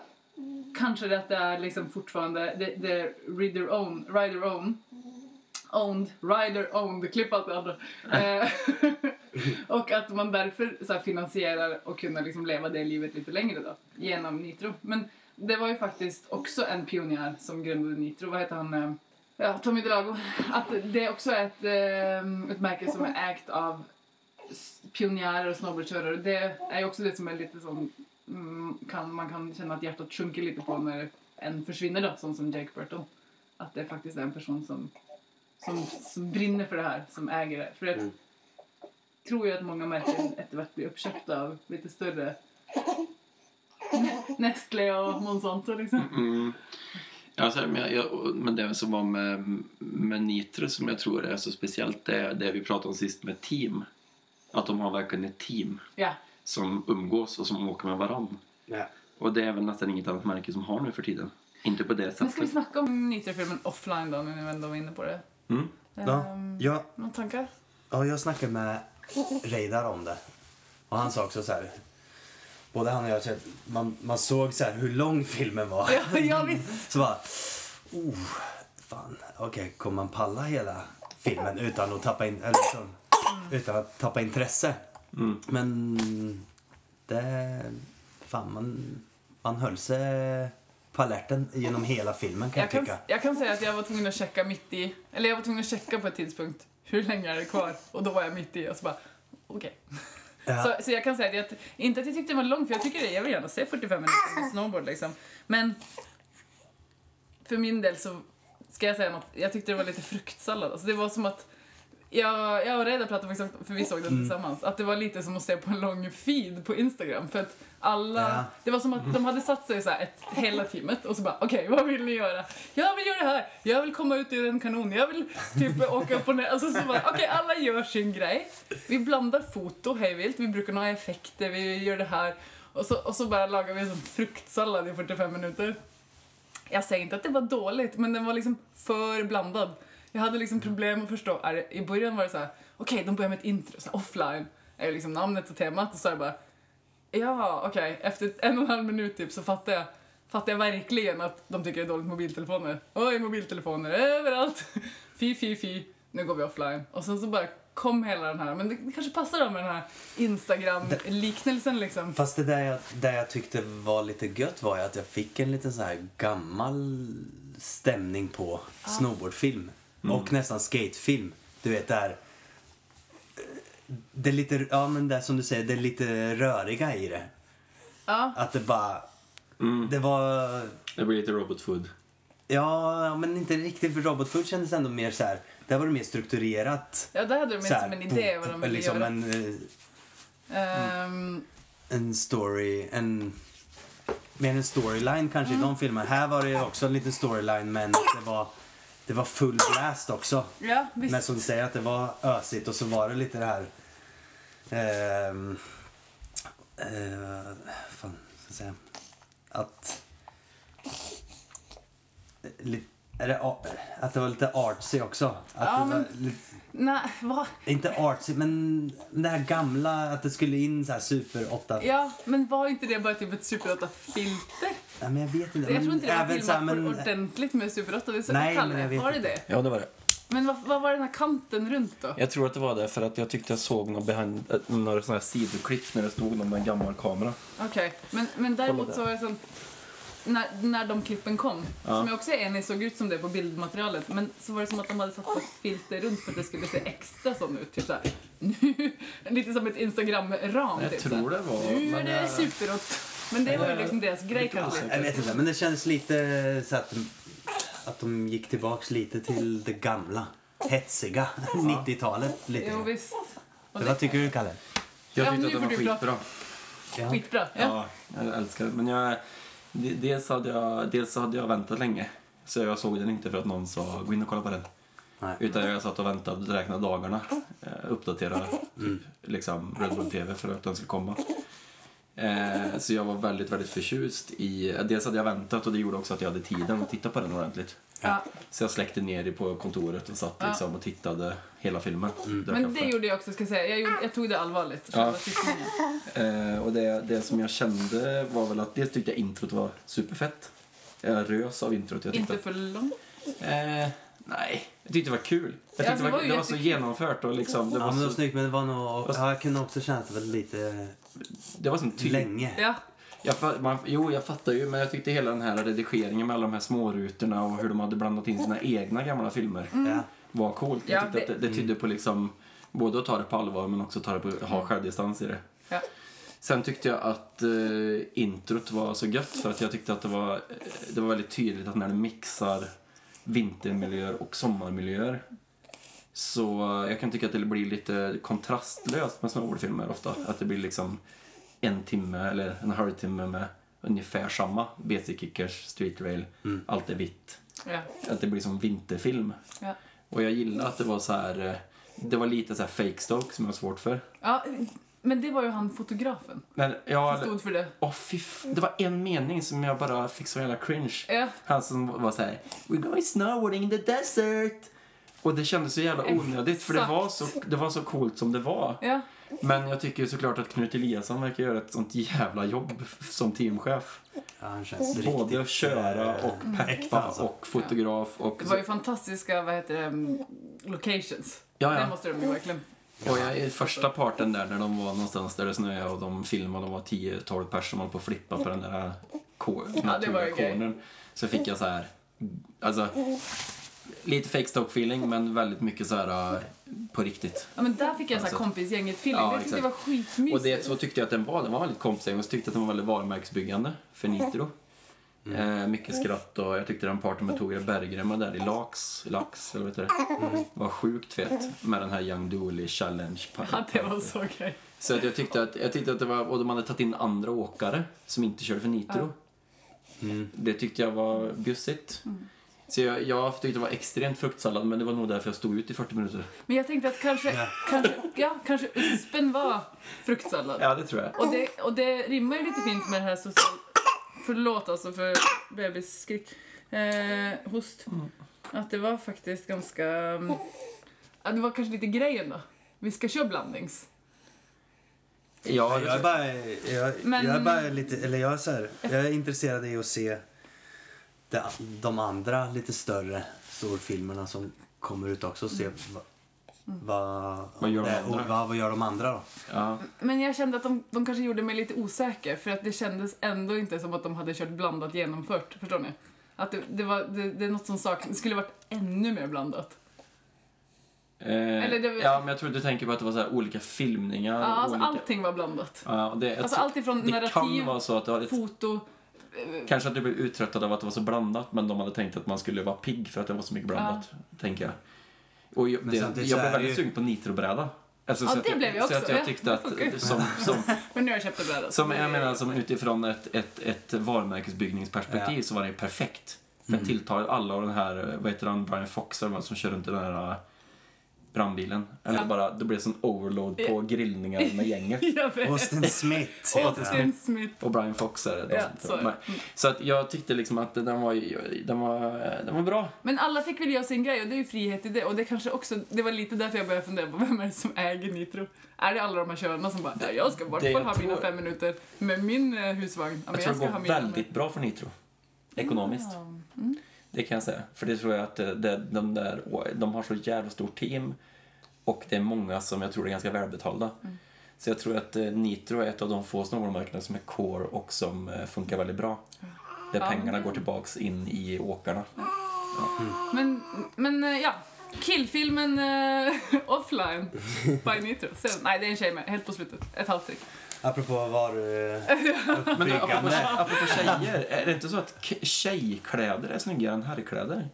A: kanske det att det är liksom fortfarande, det, det är reader own, rider own. Owned, rider owned, klipp allt det andra. Eh, och att man därför så här, finansierar och kunna liksom leva det livet lite längre då, genom Nitro. Men det var ju faktiskt också en pionjär som grundade Nitro. Vad heter han? eh, Ja, ehm, Tommy Drago. Att det också är ett, eh, ett märke som är ägt av s- pionjärer och snowboardkörare. Det är ju också det som är lite sån, mm, kan, man kan känna att hjärtat sjunker lite på när en försvinner då, sån som Jake Burton. Att det faktiskt är en person som, som, som brinner för det här, som äger det. För jag
B: Mm.
A: tror ju att många märken efterhvert blir uppköpta av lite större Nestlé och Monsanto liksom.
C: Mm. Ja, så här, men, jag- jag, men det som var med, med Nitro som jag tror är så speciellt det är det vi pratade om sist med team. Att de har verkligen ett team
A: Ja,
C: som umgås och som åker med varann.
B: Ja.
C: Och det är väl nästan inget annat märke som har nu för tiden. Inte på det
A: men ska vi
C: sättet.
A: snacka om Nitro-filmen offline då, när vi ändå var inne på det?
C: Mm.
B: Ja,
A: Ehm,
B: jag,
A: Några tankar?
B: ja, jag snackade med Reidar om det. Och han sa också så här. Både han och jag, så här, man, man såg så här hur lång filmen var.
A: Ja, ja visst.
B: Så bara, oh, fan, okej, kommer man palla hela filmen utan att tappa, in, eller liksom, utan att tappa intresse?
C: Mm.
B: Men det, fan man, man höll sig på alerten genom hela filmen kan
A: Jag
B: jag,
A: kan,
B: tycka.
A: jag kan säga att jag var tvungen att checka mitt i, eller jag var tvungen att checka på ett tidspunkt, hur länge är det kvar? Och då var jag mitt i och så bara, okej.
B: Ja.
A: Så, så jag kan säga att, jag, inte att jag tyckte det var långt, för jag tycker det, jag vill gärna se 45 minuter med snowboard liksom. Men för min del så ska jag säga något, jag tyckte det var lite fruktsallad. Alltså det var som att jag, jag och Reidar pratade faktiskt om, för vi såg den tillsammans, att det var lite som att se på en lång feed på Instagram. För att alla,
B: Ja.
A: det var som att de hade satt sig så här ett, hela teamet och så bara okej, vad vill ni göra? Jag vill göra det här, jag vill komma ut ur en kanon, jag vill typ åka upp och ner. Alltså så bara okej, alla gör sin grej. Vi blandar foto hejvilt, vi brukar ha effekter, vi gör det här. Och så, och så bara lagar vi en sån fruktsallad i 45 minuter. Jag säger inte att det var dåligt, men den var liksom för blandad. Jag hade liksom problem att förstå. Är det- I början var det så här, okej, de börjar med ett intro, så här, offline är ju liksom namnet och temat. Och så är jag bara, ja, okej. Efter en och en halv minut typ så fattar jag, fattar jag verkligen att de tycker det är dåligt med mobiltelefoner. Oj, mobiltelefoner överallt. Fy, fy, fy. Nu går vi offline. Och sen så bara kom hela den här, men det kanske passar då med den här Instagram-liknelsen liksom.
B: Fast det där jag, där jag tyckte var lite gött var ju att jag fick en liten så här gammal stämning på snowboardfilm.
A: Mm.
B: Och nästan skatefilm. Du vet där. eh, Det är lite, ja men det är som du säger, det är lite röriga i det.
A: Ja,
B: Att det bara,
C: Mm.
B: det var,
C: Det blir lite robot food.
B: ja men inte riktigt för robotfood kändes ändå mer så här. Där var det mer strukturerat.
A: ja där hade de
B: så
A: inte
B: här,
A: som en idé vad de ville
B: liksom
A: göra.
B: en, eh,
A: Ehm,
B: en story, en... Mer en storyline kanske
A: Mm.
B: i de filmerna. Här var det ju också en liten storyline men det var, det var full blast också.
A: ja, visst.
B: Men som du säger att det var ösigt och så var det lite det här... ehm, eh, fan, ska jag säga? Att... eh, li- Är det, a- att det var lite artsy också. Att
A: Ja,
B: det var
A: men-
B: lite,
A: Nej, va?
B: inte artsy, men det här gamla att det skulle in så här super 8
A: Ja, men var inte det bara typ ett Super 8-filter?
B: Ja, men jag vet inte.
A: Jag tror
B: men
A: inte det var
B: Mm, även så här,
A: filmat
B: men-
A: men... ordentligt med Super 8. Det är så
B: Nej,
A: kallar
B: men jag
A: det.
B: vet
A: Var det
B: inte.
A: det?
D: Ja, det var det.
A: Men vad, vad var den här kanten runt då?
D: Jag tror att det var det för att jag tyckte jag såg någon behind, äh, några sådana här sidoklipp när det stod någon med en gammal kamera.
A: Okej, men, men
D: Kolla
A: däremot
D: där.
A: så var det sån... När, när de klippen kom, som jag också är enig såg ut som det på bildmaterialet, men så var det som att de hade satt på ett filter runt för att det skulle se extra sån ut. Typ såhär, nu... Lite som ett Instagram-ram.
C: Jag
A: typ
C: tror
A: såhär.
C: det var-
A: Nu är
C: men eh,
A: det
C: jag-
A: Super 8. Men det var ju liksom deras grej kanske.
B: Jag vet inte, men det känns lite så att, att de gick tillbaks lite till det gamla. Hetsiga 90-talet lite.
A: Jo, visst. Och
B: Eller
A: det,
B: Vad tycker du, Kalle?
A: Ja,
C: Jag
A: men
C: tyckte
A: nu
C: att den
A: får
C: var
A: du prata.
C: skitbra.
B: Ja.
A: skitbra. Ja.
C: Ja, jag älskar det. Men jag, de- dels, hade jag, dels hade jag väntat länge. Så jag såg den inte för att någon sa gå in och kolla på den.
B: Nej.
C: Utan jag satt och väntade och räknade dagarna. Eh, Uppdaterade typ, liksom Red Bull TV för att den skulle komma. Eh, så jag var väldigt, väldigt förtjust i... Dels hade jag väntat och det gjorde också att jag hade tiden att titta på den ordentligt.
A: Ja.
C: Så jag släckte ner det på kontoret och satt
A: Ja.
C: liksom och tittade hela filmen. Drack
A: Men
C: kaffe.
A: det gjorde jag också, ska jag säga. Jag, gjorde, jag tog det allvarligt.
C: Ja.
A: själva sittningen.
C: Eh, och det, det som jag kände var väl att dels tyckte jag introt var superfett. Jag rös av introt. Jag tyckte
A: Inte för långt.
C: att, eh, nej, jag tyckte det var kul. Jag
A: Ja,
C: tyckte
A: det
C: det
A: var
C: var,
A: ju
C: det var så
A: jättekul.
C: genomfört och liksom, det,
B: Ja,
C: var
B: men det var
C: så,
B: snyggt, men det var nog... Ja, jag kunde också känna att det var lite
C: det var sån tyngd.
B: länge.
A: Ja.
C: Jag, fa- man, jo, jag fattar ju, men jag tyckte hela den här redigeringen med alla de här smårutorna och hur de hade blandat in sina egna gamla filmer
B: Ja.
C: var coolt. Jag
A: Ja,
C: tyckte att det, det tydde på liksom Både att ta det på allvar men också ta det på, ha självdistans i det.
A: Ja.
C: Sen tyckte jag att eh, introt var så gött för att jag tyckte att det var, eh, det var väldigt tydligt att när du mixar vintermiljöer och sommarmiljöer så eh, jag kan tycka att det blir lite kontrastlöst med snowboardfilmer ofta. Att det blir liksom en timme eller en halvtimme med ungefär samma. BC Kickers, Street Rail, allt är vitt.
A: Ja.
C: Att det blir som vinterfilm.
A: Ja.
C: Och jag gillar att det var så här, eh, det var lite så här fake stoke som jag har svårt för.
A: ja, men det var ju han fotografen
C: Men jag,
A: som stod för det.
C: Åh fy f- det var en mening som jag bara fick så jävla cringe.
A: Ja.
C: Han som var så här, We're going snowboarding in the desert. Och det kändes så jävla onödigt för det var så, det var så coolt som det var.
A: Ja.
C: Men jag tycker ju såklart att Knut Eliasson verkar göra ett sånt jävla jobb f- som teamchef.
B: Ja, han känns riktigt...
C: Både köra
B: eh,
C: och
B: äkta,
C: peppa
B: alltså.
C: och fotograf och...
A: Det var ju fantastiska, vad heter det, mm, locations.
C: Ja, ja.
A: Det måste de ju verkligen.
C: Och jag, i första parten där när de var någonstans där det snöade och de filmade, de var 10-12 personer som höll på att flippa på den där ko-
A: var ju grej.
C: naturkornen. Så fick jag så här, alltså lite fake stock feeling men väldigt mycket så här äh, på riktigt.
A: Ja, men där fick jag så här
C: Alltså.
A: kompisgänget-feeling.
C: Ja,
A: jag tyckte det var
C: exakt.
A: skitmysigt.
C: Och det, så tyckte jag att den var, den var väldigt kompisig och så tyckte jag att den var väldigt varumärkesbyggande för
A: Mm.
C: Nitro. Eh, mycket skratt och jag tyckte den parten med Tore Berggren var där i Lax, Lax eller vad heter det?
A: Mm.
C: Var sjukt fet med den här Young Dooley Challenge.
A: Ja, det var så grej.
C: Så att jag tyckte att, jag tyckte att det var, och de hade tagit in andra åkare som inte körde för Nitro.
A: Mm.
C: Det tyckte jag var bjussigt. Så jag, jag tyckte det var extremt fruktsallad men det var nog därför jag stod ut i 40 minuter.
A: Men jag tänkte att kanske, kanske, ja, kanske uspen var fruktsallad.
C: Ja, det tror jag.
A: Och, det, och det rimmar ju lite fint med det här social... Förlåt alltså för bebisskrik. Eh, host.
C: Mm.
A: Att det var faktiskt ganska... mm, Ja, det var kanske lite grejen då. Vi ska köra blandnings.
C: Ja,
B: Ja, jag är
C: det tror jag.
B: bara, jag,
A: Men-
B: jag är bara lite, eller jag är så här, jag är intresserad i att se de, de andra lite större storfilmerna som kommer ut också och se
C: Mm.
B: vad, vad,
C: Vad gör de
B: det-
C: andra?
B: och vad, vad gör de andra då?
C: Ja.
A: Men jag kände att de, de kanske gjorde mig lite osäker för att det kändes ändå inte som att de hade kört blandat genomfört. Förstår ni? Att det, det, var, det, det är något som saknas. Det skulle varit ännu mer blandat.
C: Eh,
A: Eller det-
C: ja, men jag tror du tänker på att det var så här olika filmningar.
A: Ja, alltså
C: olika...
A: allting var blandat.
C: Ja, och det, jag
A: Alltså
C: tror-
A: allt ifrån
C: det
A: narrativ,
C: kan vara så att det var ett,
A: foto,
C: kanske att du blev uttröttad av att det var så blandat men de hade tänkt att man skulle vara pigg för att det var så mycket blandat, tänker jag. Och jag,
B: Men
C: det, jag
B: samtidigt
C: blev
B: så är det
C: väldigt
B: ju-
C: sugen på nitrobräda. Alltså,
A: Ja,
C: så att
A: det blev jag
C: Så
A: också,
C: att jag
A: ja.
C: tyckte att, som, som,
A: Men nu har jag köpt det alltså. brädet.
C: Som jag menar, som utifrån ett, ett, ett varumärkesbyggningsperspektiv så var det perfekt. För mm. tilltar alla och den här, vad heter han, Brian Fox eller vad som kör runt i den här äh, brandbilen. Eller
A: Ja.
C: bara, det blev sån overload på grillningar med gänget.
A: Jag vet.
B: Austin Smith.
A: Austin Smith.
C: Och Brian Fox är det. de
A: Ja,
C: som-
A: så är det.
C: Nej. så att jag tyckte liksom att den var, ju- den var, den var bra.
A: Men alla fick väl göra sin grej och det är ju frihet i det. Och det kanske också, det var lite därför jag började fundera på vem är det som äger Nitro? Är det alla de här körarna som bara ja, jag ska bort
C: Det
A: och
C: jag
A: ha mina
C: tror-
A: fem minuter med min eh, husvagn. Ja, men
C: Jag tror
A: ska
C: det
A: ha
C: går
A: mina
C: väldigt bra för Nitro. Ekonomiskt. Det kan jag säga. För det tror jag att eh, det, det, de, där, de har så jävla stort team och det är många som jag tror är ganska välbetalda.
A: Mm.
C: Så jag tror att eh, Nitro är ett av de få snowboardmarknader som är core och som eh, funkar väldigt bra. Där pengarna går tillbaks in i åkarna.
A: Men, men eh, ja. Killfilmen eh, offline by Nitro. Sen, nej, det är en tjej med. Helt på slutet. Ett halvtryck.
B: Apropå eh,
C: Men du, apropå,
B: varuuppbyggande.
C: apropå tjejer, är det inte så att k- tjejkläder är snyggare än herrkläder?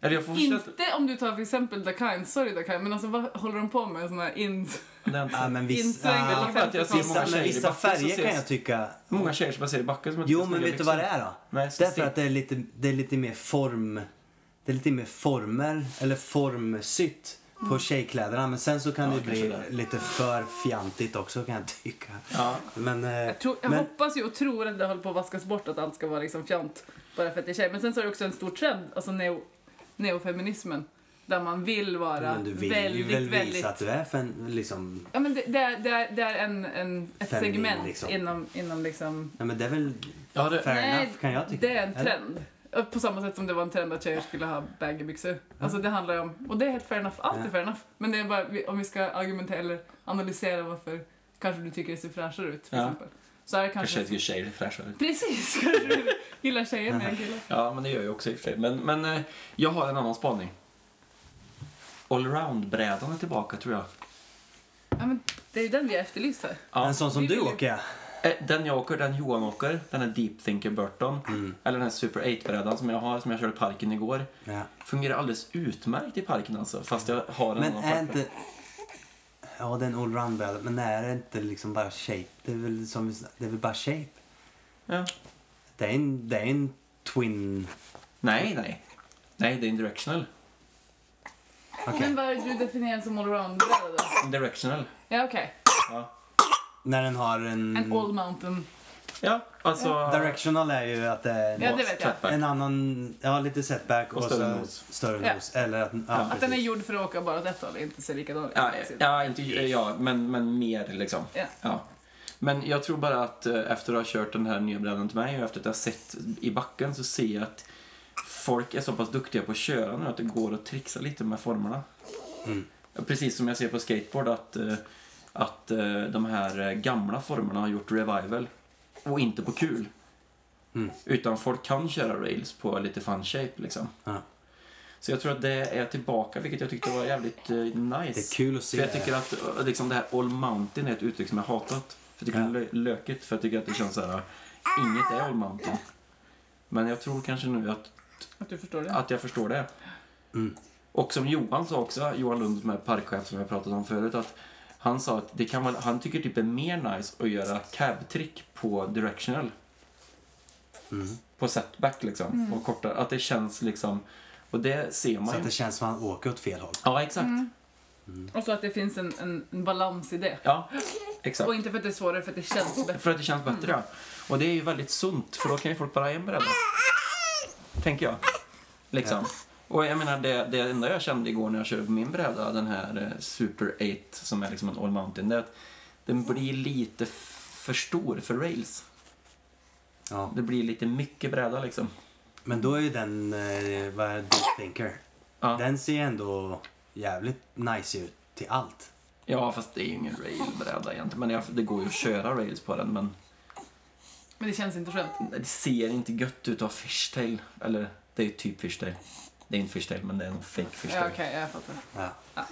C: Eller jag får känslan...
A: Inte om du tar för exempel Dakine. Sorry Dakine, men alltså vad håller de på med? Såna här in...
C: det är inte-
B: Ja, men vissa,
A: Inslängda
B: ja,
C: för att jag ser
A: Vissa-
C: många
B: vissa, men
C: tjejer i
B: vissa
C: backen så
B: färger
C: ser
B: kan jag tycka
C: Många tjejer som jag ser i backen som inte
B: Jo,
C: har
B: men
C: snygga
B: vet du vad det
C: byxor.
B: är då?
C: Nej, så
B: Därför
C: stick-
B: att det är, lite, det är lite mer form... Det är lite mer former, eller formsytt på tjejkläderna. Men sen så kan
C: Mm. Ja,
B: det
C: kanske
B: bli
C: det.
B: lite för fjantigt också kan jag tycka.
C: Ja.
B: Men, eh,
A: Jag, tror, jag
B: men
A: hoppas ju och tror att det håller på att vaskas bort att allt ska vara liksom fjant bara för att det är tjej. Men sen så är det också en stor trend, alltså neo, neofeminismen. Där man vill vara
B: men du vill
A: väldigt,
B: ju väl
A: väldigt...
B: visa att du är fen, liksom...
A: Ja men det, det, är, det, är, det är en, en, ett
B: Feminin,
A: segment
B: liksom.
A: inom, inom liksom...
B: Nej, men det är väl
C: Ja, det,
B: fair enough kan jag tycka.
A: det är en
B: Eller?
A: trend. På samma sätt som det var en trend att tjejer skulle ha baggybyxor. Alltså det handlar ju om, och det är helt fair enough, allt är
B: Ja.
A: fair enough. Men det är bara vi- om vi ska argumentera eller analysera varför kanske du tycker det ser fräschare ut till
C: Ja.
A: exempel. Så är det
C: Kanske
A: kanske
C: jag tycker tjejer är fräschare.
A: Precis, kanske du gillar tjejer mer än killar.
C: Ja, men det gör jag också i och för sig. Men, men eh, jag har en annan spaning. allround-brädan är tillbaka tror jag.
A: Ja, men det är ju den vi efterlyser.
C: Ja.
B: En sån som
A: Vi
B: du
A: vill ju-
B: åker ja.
C: Eh, Den jag åker, den Johan åker, den här Deep Thinker Burton.
B: Mm.
C: Eller den här Super 8-brädan som jag har, som jag körde i parken igår.
B: ja.
C: Fungerar alldeles utmärkt i parken alltså, fast jag har en
B: Men
C: annan
B: är
C: park.
B: inte... Ja, det är en allround bräda. Men är det inte liksom bara shape? Det är väl, som, det är väl bara shape?
C: Ja.
B: Det är en, det är en twin...
C: Nej, nej. Nej, det är en directional.
B: Okej.
A: Men vad är det du definierar som allround-bräda då?
C: En Directional.
A: Ja, okej.
C: Ja,
B: När den har en...
C: Mm.
A: En all mountain.
C: ja typ. alltså...
B: Directional är ju att det är en,
A: Ja, det vet jag.
C: Setback.
B: en annan... Ja, lite setback och,
C: Och större
B: så,
C: nos.
B: Större
A: Ja.
B: nos. Eller att... Ja,
A: Att den är
B: precis.
A: gjord för att åka bara åt ett håll, inte se likadan ut.
C: Ja, ja, inte ja, men, men mer liksom.
A: Ja.
C: Ja. Men jag tror bara att eh, efter att ha kört den här nya brädan till mig och efter att jag har sett i backen så ser jag att folk är så pass duktiga på att köra nu att det går att trixa lite med formerna.
B: Mm.
C: Precis som jag ser på skateboard att, eh, att eh, de här eh, gamla formerna har gjort revival och inte på kul.
B: Mm.
C: Utan folk kan köra rails på lite fun shape liksom.
B: Ja.
C: Så jag tror att det är tillbaka, vilket jag tyckte var jävligt eh, nice.
B: Det är kul att se.
C: För jag tycker att eh, liksom, det här all mountain är ett uttryck som jag hatat. För jag tycker
B: Ja.
C: det är lö- lökigt, för jag tycker att det känns så här. eh, Inget är all mountain. Men jag tror kanske nu att,
A: Att du förstår det.
C: att jag förstår det.
B: Mm.
C: Och som Johan sa också, Johan Lund som är parkchef som jag pratat om förut, att han sa att det kan vara, han tycker typ det är mer nice att göra cab-trick på directional.
B: Mm.
C: På setback liksom. Och kortare. Att det känns liksom, och det ser man
B: Så
C: ju.
B: att det Mm. känns som att man åker åt fel håll.
C: Ja, exakt.
A: Och så att det finns en, en, en balans i det.
C: Ja, exakt.
A: Och inte för att det är svårare, för att det känns bättre.
C: För att det känns bättre, ja. Och det är ju väldigt sunt, för då kan ju folk bara en bräda. Tänker jag. Liksom. Och jag menar, det, det enda jag kände igår när jag körde på min bräda, den här eh, Super 8 som är liksom en All Mountain, det är att den blir lite f- för stor för rails.
B: Ja.
C: Det blir lite mycket bräda liksom.
B: Men då är ju den... Eh, vad är det? Deep Thinker.
C: Ja.
B: Den ser ju ändå jävligt nice ut till allt.
C: Ja, fast det är ju ingen railbräda egentligen. Men jag, det går ju att köra rails på den, men
A: Men det känns inte skönt.
C: det ser inte gött ut av fishtail. Eller, det är ju typ fishtail. Det är inte fishtail, men det är en fake
A: Ja,
C: fishtail.
A: okej, jag fattar.
B: Ja.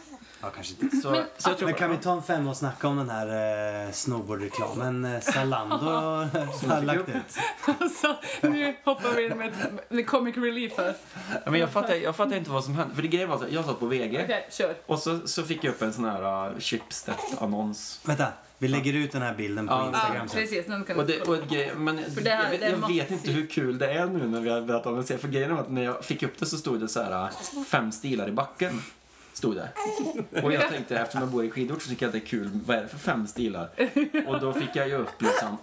B: Ja, kanske inte.
C: Så, så jag tror
B: Men kan vi ta en femma och snacka om den här eh, snowboardreklamen eh, Zalando har lagt ut?
A: Alltså, nu hoppar vi in med ett- med comic relief här.
C: Ja, men jag fattar, jag fattar inte vad som hände. För det grejen var att jag satt på VG
A: Okej, kör.
C: och så, så fick jag upp en sån här uh, Schibsted-annons.
B: Vänta, vi lägger ut den här bilden på
C: Ja.
A: Ja,
B: Instagram sen.
A: precis. Den kan
C: Och
A: du
C: det, och grej, men
A: det här-
C: jag, vet-
A: det är
C: jag vet
A: massivt.
C: inte hur kul det är nu när vi har berättat om det. För grejen var att när jag fick upp det så stod det så här uh, fem stilar i backen. Stod det. Och jag tänkte eftersom jag bor i skidort så tycker jag att det är kul. Vad är det för fem stilar? Och då fick jag ju upp liksom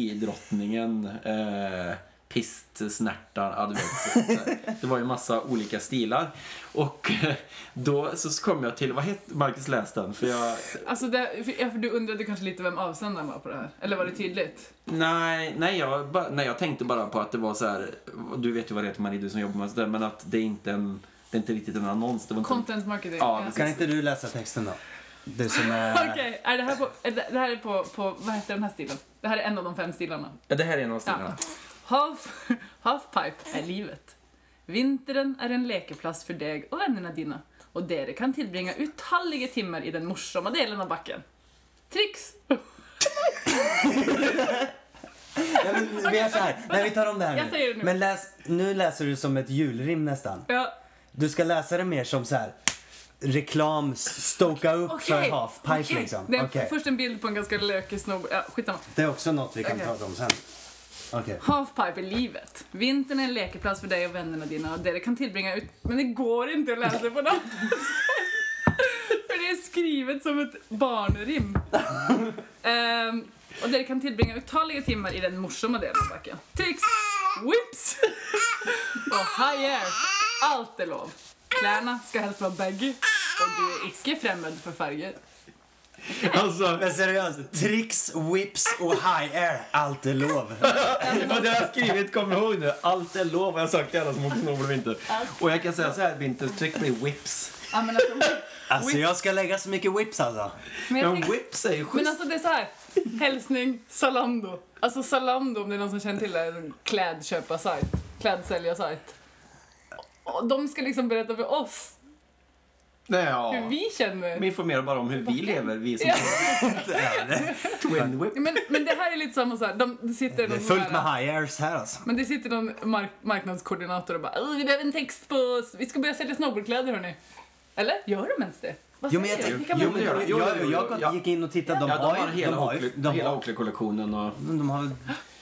C: afterski-drottningen, eh, pistsnärtan, ja, du vet, så- så här. Det var ju massa olika stilar. Och eh, då så kom jag till, vad hette Marcus läs den? För jag,
A: Alltså, det, för, ja, för du undrade kanske lite vem avsändaren var på det här. Eller var det tydligt?
C: Nej, nej jag, bara, nej, jag tänkte bara på att det var så här. Du vet ju vad det heter Marie, du som jobbar med sådär, men att det är inte en, det är inte riktigt en annons. Det var inte,
A: Content marketing.
C: Ja, precis.
B: Kan inte du läsa texten då? Du som
A: Okej,
B: är...
A: är det här på, är det, det här är på, på, vad heter den här stilen? Det här är en av de fem stilarna.
C: Ja, det här är en av stilarna.
A: Half, halfpipe är livet. Vintern är en lekeplats för dig och vännerna dina och dere kan tillbringa utalliga timmar i den morsamma delen av backen. Tricks!
B: Ja, men, vi gör så här. Nej, vi tar om det
A: Jag
B: här
A: säger
B: nu.
A: det nu.
B: Men läs, nu läser du som ett julrim nästan.
A: Ja,
B: Du ska läsa det mer som så här reklam, stoka upp
A: okej.
B: för halfpipe
A: okej.
B: liksom.
A: Det är
B: Okej.
A: först en bild på en ganska lökig snowboard. Ja, skitsamma.
B: Det är också något vi kan
A: Okej.
B: prata om sen. Okej.
A: Halfpipe är livet. Vintern är en lekeplats för dig och vännerna dina och dere kan tillbringa ut... Men det går inte att läsa på något För det är skrivet som ett barnrim. Ehm, och dere kan tillbringa otaliga timmar i den morsamma delen av backen. Tricks, whips och high air. Allt är lov. Kläderna ska helst vara baggy och du är icke främmande för färger.
B: Alltså, men seriöst. Tricks, whips och high air. Allt är lov.
C: Vad jag har skrivit, kom ihåg nu. Allt är lov har jag sagt till alla som åker snowboard i vinter. Och jag kan säga så här, vinter, tryck mig whips.
A: Ja, men alltså,
B: Alltså jag ska lägga så mycket whips alltså.
A: men jag
C: Men
A: tänker-
C: whips är ju
A: Men
C: schysst.
A: alltså det är så här. Hälsning Zalando. Alltså Zalando om det är någon som känner till det är en klädköparsajt. Klädsäljarsajt. Och de ska liksom berätta för oss
C: Nej, ja.
A: Hur vi känner.
C: De informerar bara om hur vi lever, vi som
A: Ja.
C: Twin Whip.
A: Ja, Men, men det här är lite samma såhär, de det sitter
B: Det är
A: någon
B: fullt
A: där-
B: med high airs här alltså.
A: Men det sitter någon mark marknadskoordinator och bara "Åh, vi behöver en text på, vi ska börja sälja snowboardkläder hörni. Eller? Gör de ens det? Vad
B: Jo men jag
A: säger du?
B: tänkte,
A: Vilka
B: jo,
A: män-
B: men
C: det gör
B: jag,
C: de.
B: jag,
C: Jo,
B: jag,
C: jo, jo, ja.
B: gick in och tittade, de
C: Ja,
B: har
C: de har
B: ju, de
C: hela
B: har ju,
C: Oakley-
B: de
C: hela
B: har,
C: Oakley-kollektionen och...
B: de har väl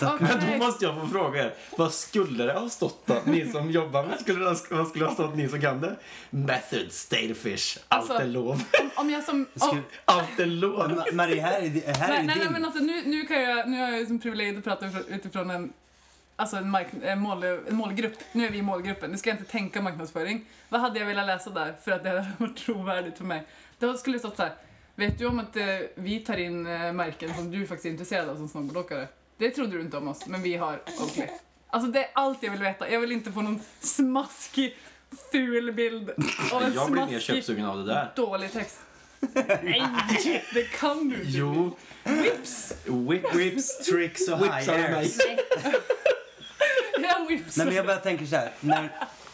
A: Okej.
C: Men då måste jag få fråga er, vad skulle det ha stått då? Ni som jobbar med, skulle det, vad skulle det ha stått ni som kan det? Method, stalefish, allt
A: Alltså-
C: är lov.
A: Om, om jag som...
B: Ska-
A: om,
C: Allt är lov.
B: Ma- Marie, här är, här
A: nej,
B: är
A: nej,
B: ju
A: nej
B: din.
A: men alltså nu, nu kan jag, nu har jag som privilegiet att prata utifrån- utifrån en, alltså en, mark, en, mål, en målgrupp. Nu är vi i målgruppen, nu ska jag inte tänka marknadsföring. Vad hade jag velat läsa där för att det hade varit trovärdigt för mig? Då skulle det stått så här. Vet du om att eh, vi tar in eh, märken som du faktiskt är intresserad av som snowboardåkare? Det trodde du inte om oss, men vi har Oakley. Alltså det är allt jag vill veta. Jag vill inte få någon smaskig, ful bild av en
C: Jag blir mer
A: smaskig,
C: köpsugen av det där.
A: dålig text. Nej, det kan du inte.
C: Jo. Whips. Whips.
B: Whips, tricks och
C: Whips
B: high
C: are
B: airs.
C: nice.
A: Jag whips.
B: Nej men jag bara tänker så här, när,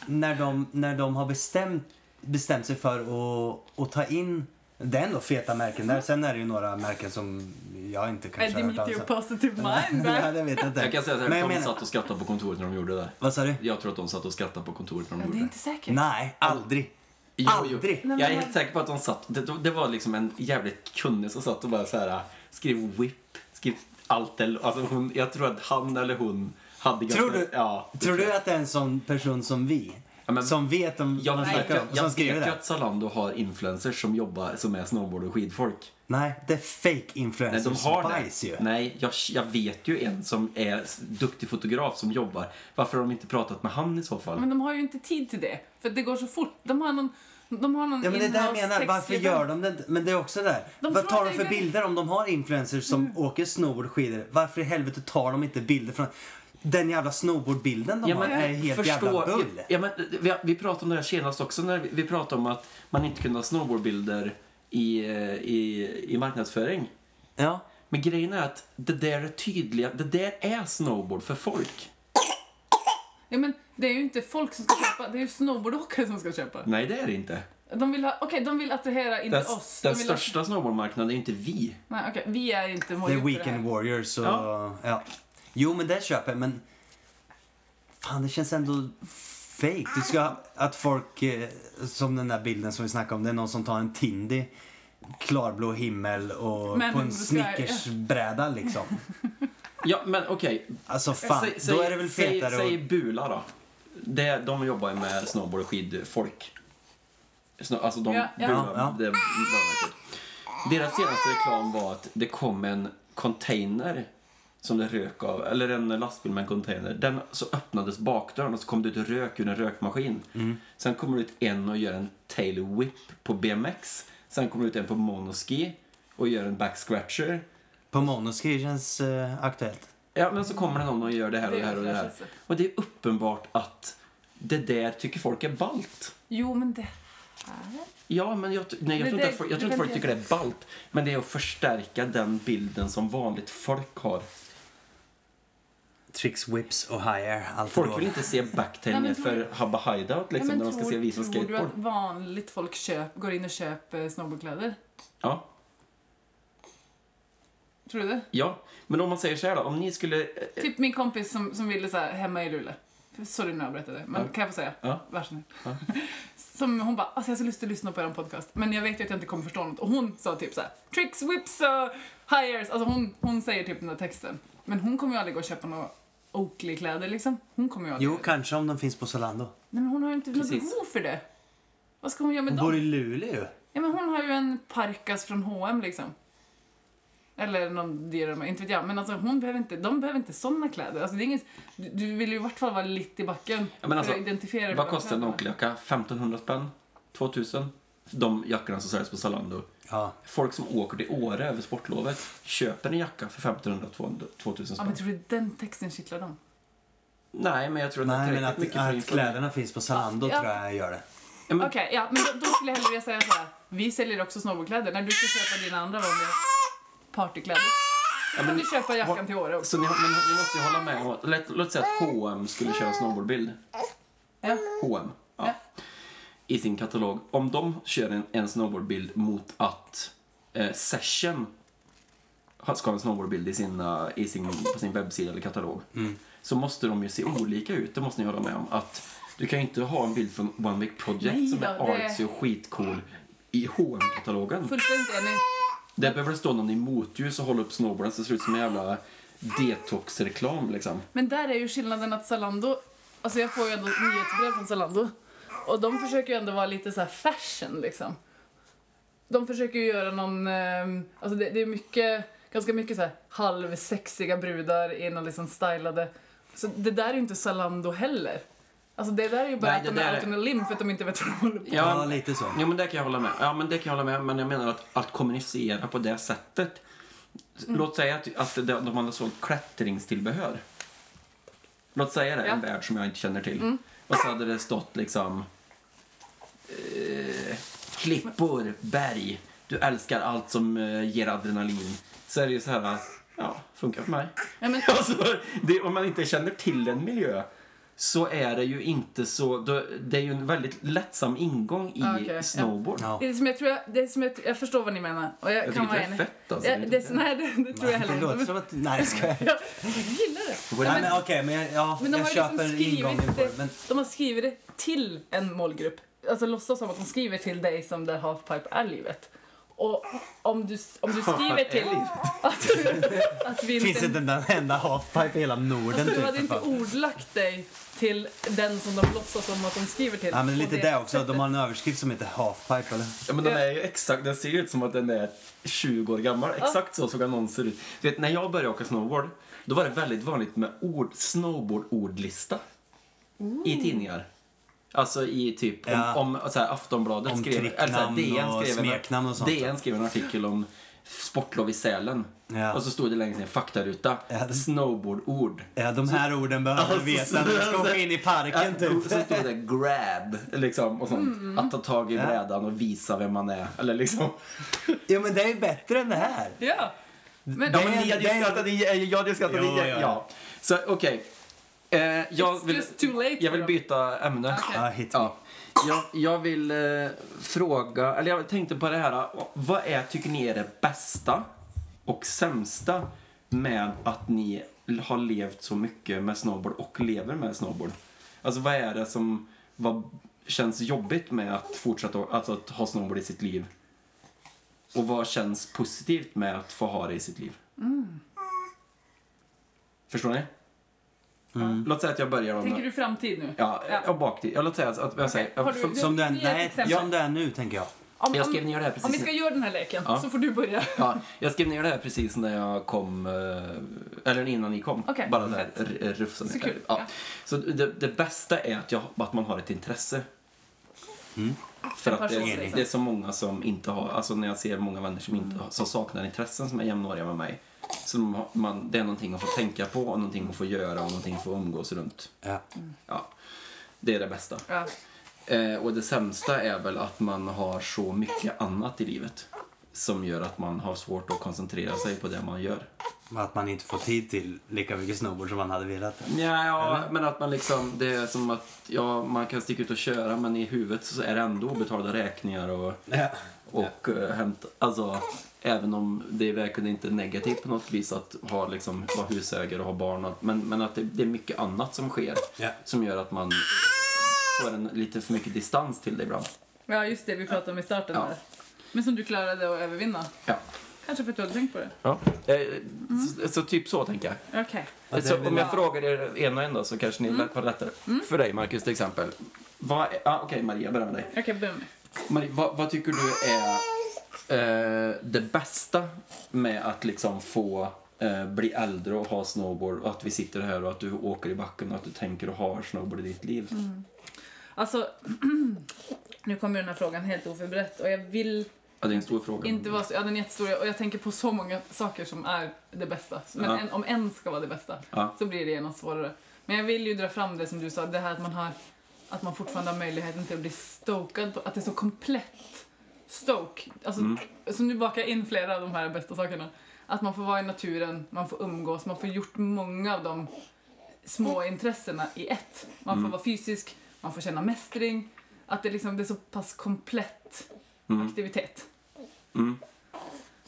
B: när, de, när de har bestämt, bestämt sig för att, att ta in, det är ändå feta märken där, sen är det ju några märken som jag inte
A: Är
B: kanske har hört
A: Dimitri
B: talas
A: och
B: om.
A: positive mind
B: Alltså. Nej,
A: där?
B: det vet jag inte.
C: Jag kan säga så
B: men
C: här,
B: jag
C: de
B: menar,
C: satt och skrattade på kontoret när de gjorde det där.
B: vad sa du?
C: Jag tror att de satt och skrattade på kontoret när de
A: Det
C: gjorde
A: är
C: det.
A: inte säkert.
B: Nej, aldrig.
C: Jo, jo.
B: Aldrig.
A: Nej, men
C: Jag är
A: man-
C: helt säker på att de satt, det, det var liksom en jävligt kunnig som satt och bara så här äh, skrev whip, skrev allt eller, alltså hon, jag tror att han eller hon hade ganska,
B: Tror du-
C: Ja.
B: Tror du att det är en sån person som vi?
C: Ja, men-
B: som vet om
C: Jag
B: vad de
C: vet,
B: snackar om?
C: ju-
B: Som
C: jag
B: skriver
C: vet ju
B: det?
C: att Zalando har influencers som jobbar, som är snowboard och skidfolk.
B: Nej, det är fake
C: Nej,
B: influencers
C: de har
B: spice ju.
C: det. Nej, jag, jag vet ju en som är s- duktig fotograf som jobbar. Varför har de inte pratat med han i så fall?
A: Men de har ju inte tid till det. För det går så fort. De har någon, de har någon
B: Ja, men det är det jag
A: inhouse
B: menar. Varför
A: textskrivare.
B: gör de det inte? Men det är också där.
A: De
B: Vad tar
A: pratar
B: de för
A: ju- Mm.
B: bilder om de har influencers som åker snowboard och skidor? Varför i helvete tar de inte bilder från... Den jävla snowboardbilden de
C: Ja, men
B: har är helt jävla bull.
C: Ja, men, eh, vi, vi pratade om det här senast också, när vi, vi pratade om att man inte kunde ha snowboardbilder i, eh, i, i marknadsföring.
B: Ja.
C: Men grejen är att det där är tydliga, det där är snowboard för folk.
A: Ja, men det är ju inte folk som ska köpa, det är ju snowboardåkare som ska köpa.
C: Nej, det är det inte.
A: De vill, ha, okay, de vill attrahera, inte
C: Den,
A: oss.
C: den
A: de vill att-
C: största snowboardmarknaden är ju inte vi.
A: nej, okay, vi är inte
B: Det
A: målgrupp
B: är
A: för det
B: Weekend
A: här.
B: Warriors och... Ja.
C: Ja.
B: Jo, men det köper jag, men... Fan, det känns ändå fake. Du ska... Att folk... eh, Som den där bilden som vi snackade om. Det är någon som tar en Tindy. Klarblå himmel och
A: Men
B: på en
A: det ska- ja.
B: Snickersbräda liksom.
C: Ja, men okej.
B: Alltså fan,
C: Eh, Säg-
B: då
C: säg-
B: är det väl
C: säg,
B: fetare
C: säg
B: och...
C: Bula då. Det, de jobbar ju med snowboard och skidfolk. Snö- Alltså de...
A: Ja, ja.
C: Bula,
B: Ja,
C: Det, Bula-märket. Deras senaste reklam var att det kom en container som det rök av, eller en lastbil med en container. Den så öppnades bakdörren och så kom det ut rök ur en rökmaskin.
B: Mm.
C: Sen kommer det ut en och gör en tail whip på BMX. Sen kommer det ut en på monoski och gör en back scratcher.
B: På monoski känns eh, aktuellt.
C: Ja, men så kommer det någon och gör det här och
A: Det
C: det
A: är
C: här och det här.
A: fräschaste.
C: Och det är uppenbart att det där tycker folk är ballt.
A: Jo, men det här...
C: Ja, men jag, t- nej, jag
A: Men
C: tror
A: det-
C: inte att folk, jag tror
A: men
C: inte folk
A: det-
C: tycker det är ballt. Men det är att förstärka den bilden som vanligt folk har.
B: Tricks, whips och high air. Allt
C: Folk
B: då.
C: vill inte se
A: Nej,
C: backtail
A: men tror
C: för Habba Hideout liksom,
A: Ja, men
C: när de ska
A: tror-
C: se vi som
A: Tror du
C: skateboard.
A: att vanligt folk köp, går in och köper snowboardkläder?
C: Ja.
A: Tror du det?
C: ja, men om man säger så här då, om ni skulle... eh, eh,
A: Typ min kompis som, som ville så här, hemma i Luleå. Sorry nu avbröt jag det, men
C: Ja.
A: kan jag få säga?
C: Ja.
A: Varsågod. Som hon bara, alltså jag har så lust att lyssna på er podcast, men jag vet ju att jag inte kommer förstå något. Och hon sa typ så här, tricks, whips och high airs. Alltså hon, hon säger typ den där texten. Men hon kommer ju aldrig gå och köpa några Oakley-kläder liksom. Hon kommer ju aldrig...
B: Jo, kanske om de finns på Solando.
A: Nej men hon har ju inte något
C: Precis.
A: behov för det. Vad ska hon göra med
B: De
A: dem?
B: bor i Luleå ju.
A: Ja men hon har ju en parkas från H&M liksom. Eller någon Dirham, inte vet jag. Men alltså hon behöver inte, de behöver inte såna kläder. Alltså det är inget, du, du vill ju i vart fall vara lite i backen.
C: Ja, men alltså,
A: för att identifiera dig
C: Vad
A: med de
C: kostar en
A: kläderna.
C: Oakley-jacka? 1500 spänn? 2000? De jackorna som säljs på Zalando.
B: Ja.
C: Folk som åker till Åre över sportlovet köper en jacka för 1500-2000
A: Ja
C: spänn.
A: men tror du den texten kittlar dem?
C: Nej, men jag tror att
B: Nej,
C: det är
B: men
C: tillräckligt
B: att,
C: mycket för
B: att
C: inför.
B: kläderna finns på Zalando
A: Ja.
B: tror jag gör det.
C: Ja, men,
A: Okej, ja men då, då skulle jag hellre vilja säga så här. Vi säljer också snowboardkläder. När du ska köpa dina andra vanliga partykläder.
C: ja,
A: Kan
C: men,
A: du köpa jackan
C: Vad-
A: till Åre också?
C: så ni, men, ni måste ju hålla med om att, låt, låt säga att H&M skulle köra snowboardbild.
A: Ja.
C: H&M. Ja.
A: Ja.
C: i sin katalog, om de kör en, en snowboardbild mot att eh, Session har- ska ha en snowboardbild i sina, i sin, på sin webbsida eller katalog,
B: Mm.
C: så måste de ju se olika ut. Det måste ni hålla med om. Att du kan ju inte ha en bild från One Week Project
A: Nej
C: som är
A: då, det-
C: artsy och skitcool i hm katalogen
A: Fullständigt enig.
C: Där behöver det stå någon i motljus och hålla upp snowboarden så det ser ut som en jävla detoxreklam liksom.
A: Men där är ju skillnaden att Zalando, alltså jag får ju ändå nyhetsbrev från Zalando och de försöker ju ändå vara lite så här fashion liksom. De försöker ju göra någon, ehm, alltså det, det är mycket, ganska mycket så här halvsexiga brudar i någon liksom stylade. Så det där är ju inte Zalando heller. Alltså det där är ju bara
C: Nej,
A: att
C: det
A: de är
C: där
A: out
C: är-
A: on a limb för att de inte vet vad de håller på med.
B: Ja, lite så.
C: Ja, men det kan jag hålla med. Ja, men det kan jag hålla med. Men jag menar att, att kommunicera på det sättet. Låt säga att, att de- de hade sålt klättringstillbehör. Låt säga det, en
A: Ja.
C: värld som jag inte känner till. Och så hade det stått liksom... Eh, klippor, berg. Du älskar allt som eh, ger adrenalin. Så är det ju så här, ja, funkar för mig.
A: Ja, men,
C: Alltså, det, om man inte känner till en miljö så är det ju inte så... då- Det är ju en väldigt lättsam ingång i
A: Ja, okej, ja.
C: snowboard.
B: Ja.
A: det är som jag tror jag, det är som jag, jag förstår vad ni menar och jag,
C: Jag
A: kan
C: tycker
A: vara
C: det är
A: enig.
C: fett alltså.
A: Ja, det, nej, det, det tror jag heller
B: Det låter
A: inte.
B: som att... Nej, jag skojar.
A: Jag gillar det.
B: Nej, men okej, men jag, ja,
A: Men de
B: jag
A: har ju
B: köper
A: liksom skrivit
B: ingången på det.
A: det,
B: Men
A: de har skrivit det till en målgrupp. Alltså låtsas som att de skriver till dig som där halfpipe är livet. Och om du, om du skriver
C: Halfpipe är
A: till att, att vi
B: finns
A: inte...
B: inte en enda halfpipe i hela Norden typ,
A: Alltså, du hade
B: för
A: inte
B: fan.
A: ordlagt dig till den som de låtsas som att de skriver till.
B: Ja, men
A: på
B: lite
A: det
B: det också.
A: sättet.
B: De har en överskrift som heter halfpipe, eller?
C: Ja, men den är ju exakt, den ser ju ut som att den är 20 år gammal. Exakt så såg annonser ut. Du vet, när jag började åka snowboard, då var det väldigt vanligt med ord, snowboard-ordlista i tidningar. Alltså i typ, om,
B: Ja.
C: om så här, Aftonbladet
B: Om
C: skrev, eller så
B: tricknamn
C: här, DN
B: och
C: skrev, en-
B: smeknamn och sånt.
C: DN skrev en artikel om sportlov i Sälen.
B: Ja.
C: Och så stod det längst ner, faktaruta,
B: Ja, det-
C: snowboardord.
B: Ja, de här orden behöver du
C: Alltså,
B: veta när du ska åka in i parken,
C: Ja, Äh, och
A: alltså.
B: typ.
C: så stod det grab, liksom, och sånt. Att ta tag i brädan och visa vem man är. Eller liksom.
B: Jo, men det är bättre än det här.
A: Ja. Men,
C: Ja, men ni hade ju
B: det-
C: skrattat i- eh, jag hade ju skrattat
B: Jo,
C: i-
B: ja.
C: ja. Så okej. Eh, jag,
A: It's
C: vill,
A: just too late
C: jag vill
A: då.
C: byta ämne.
A: Okej.
B: Ja, hit me.
C: Ja. Jag, jag vill eh, fråga, eller jag tänkte på det här. Vad är, tycker ni är det bästa och sämsta med att ni har levt så mycket med snowboard och lever med snowboard? Alltså vad är det som vad känns jobbigt med att fortsätta alltså, att ha snowboard i sitt liv? Och vad känns positivt med att få ha det i sitt liv? Förstår ni? Låt säga att jag börjar om
A: tänker du framtid nu?
C: Ja,
A: Ja.
C: ja. baktid. Jag låt säga att att jag säger...
A: Har du-
C: som-
A: du-
B: Som du är,
A: Ge ett
B: nej,
A: exempel.
B: som du är nu, tänker jag.
A: Om,
C: jag skrev
A: om,
C: ner det här
A: om vi
C: precis.
A: ska
C: när-
A: göra den här leken
C: Ja.
A: så får du börja.
C: Ja, jag skrev ner det här precis när jag kom, eh, eller innan ni kom.
A: Okej,
C: Bara där,
A: fett.
C: r- rufsa ner
A: Så kul,
C: det. Ja.
A: ja.
C: Så det, det bästa är att, jag, att man har ett intresse. För
A: En
C: att
A: passion,
C: det,
A: liksom.
C: det är så många som inte har, alltså när jag ser många vänner som, inte har, som
A: Mm.
C: saknar intressen som är jämnåriga med mig. Så de har- man, det är någonting att få tänka på, och någonting att få göra och någonting att få umgås runt.
B: Ja.
C: Ja, det är det bästa.
A: Ja.
C: Eh, och det sämsta är väl att man har så mycket annat i livet som gör att man har svårt att koncentrera sig på det man gör.
B: Att man inte får tid till lika mycket snowboard som man hade velat.
C: Ja, ja men att man liksom, det är som att ja, man kan sticka ut och köra men i huvudet så är det ändå betalda räkningar och,
B: Ja.
C: och eh, hämta, alltså även om det är verkligen inte är negativt på något vis att ha liksom, vara husägare och ha barn och allt, men, men att det, det är mycket annat som sker
B: Ja.
C: som gör att man får en lite för mycket distans till det ibland.
A: ja, just det vi pratade om i starten
C: Ja.
A: där. Men som du klarade att övervinna.
C: Ja.
A: Kanske för att du hade tänkt på det.
C: Ja. Eh, så, så typ så tänker jag.
A: Okej.
B: Ja, det
C: så
B: är väl-
C: om jag frågar er en och en då så kanske ni mm. var lättare. För dig Marcus till exempel. Vad, är- ah, Okej Maria, jag börjar med dig.
A: Okej, börja med.
C: Marie, vad, vad tycker du är eh, det bästa med att liksom få eh, bli äldre och ha snowboard och att vi sitter här och att du åker i backen och att du tänker och har snowboard i ditt liv?
A: Mm. Alltså, nu kommer den här frågan helt oförberett och jag vill
C: Ja, det är en stor fråga.
A: inte vara så, ja den är jättestor och jag tänker på så många saker som är det bästa. Men
C: Ja.
A: en, om en ska vara det bästa
C: Ja.
A: så blir det genast svårare. Men jag vill ju dra fram det som du sa, det här att man har, att man fortfarande har möjligheten till att bli stokad, på, att det är så komplett stoke. Alltså,
C: Mm.
A: Så nu bakar jag in flera av de här bästa sakerna. Att man får vara i naturen, man får umgås, man får gjort många av de
B: Mm.
C: Mm.
A: små intressena i ett. Man får vara fysisk, man får känna mästring. Att det, liksom, det är så pass komplett aktivitet.
C: Mm.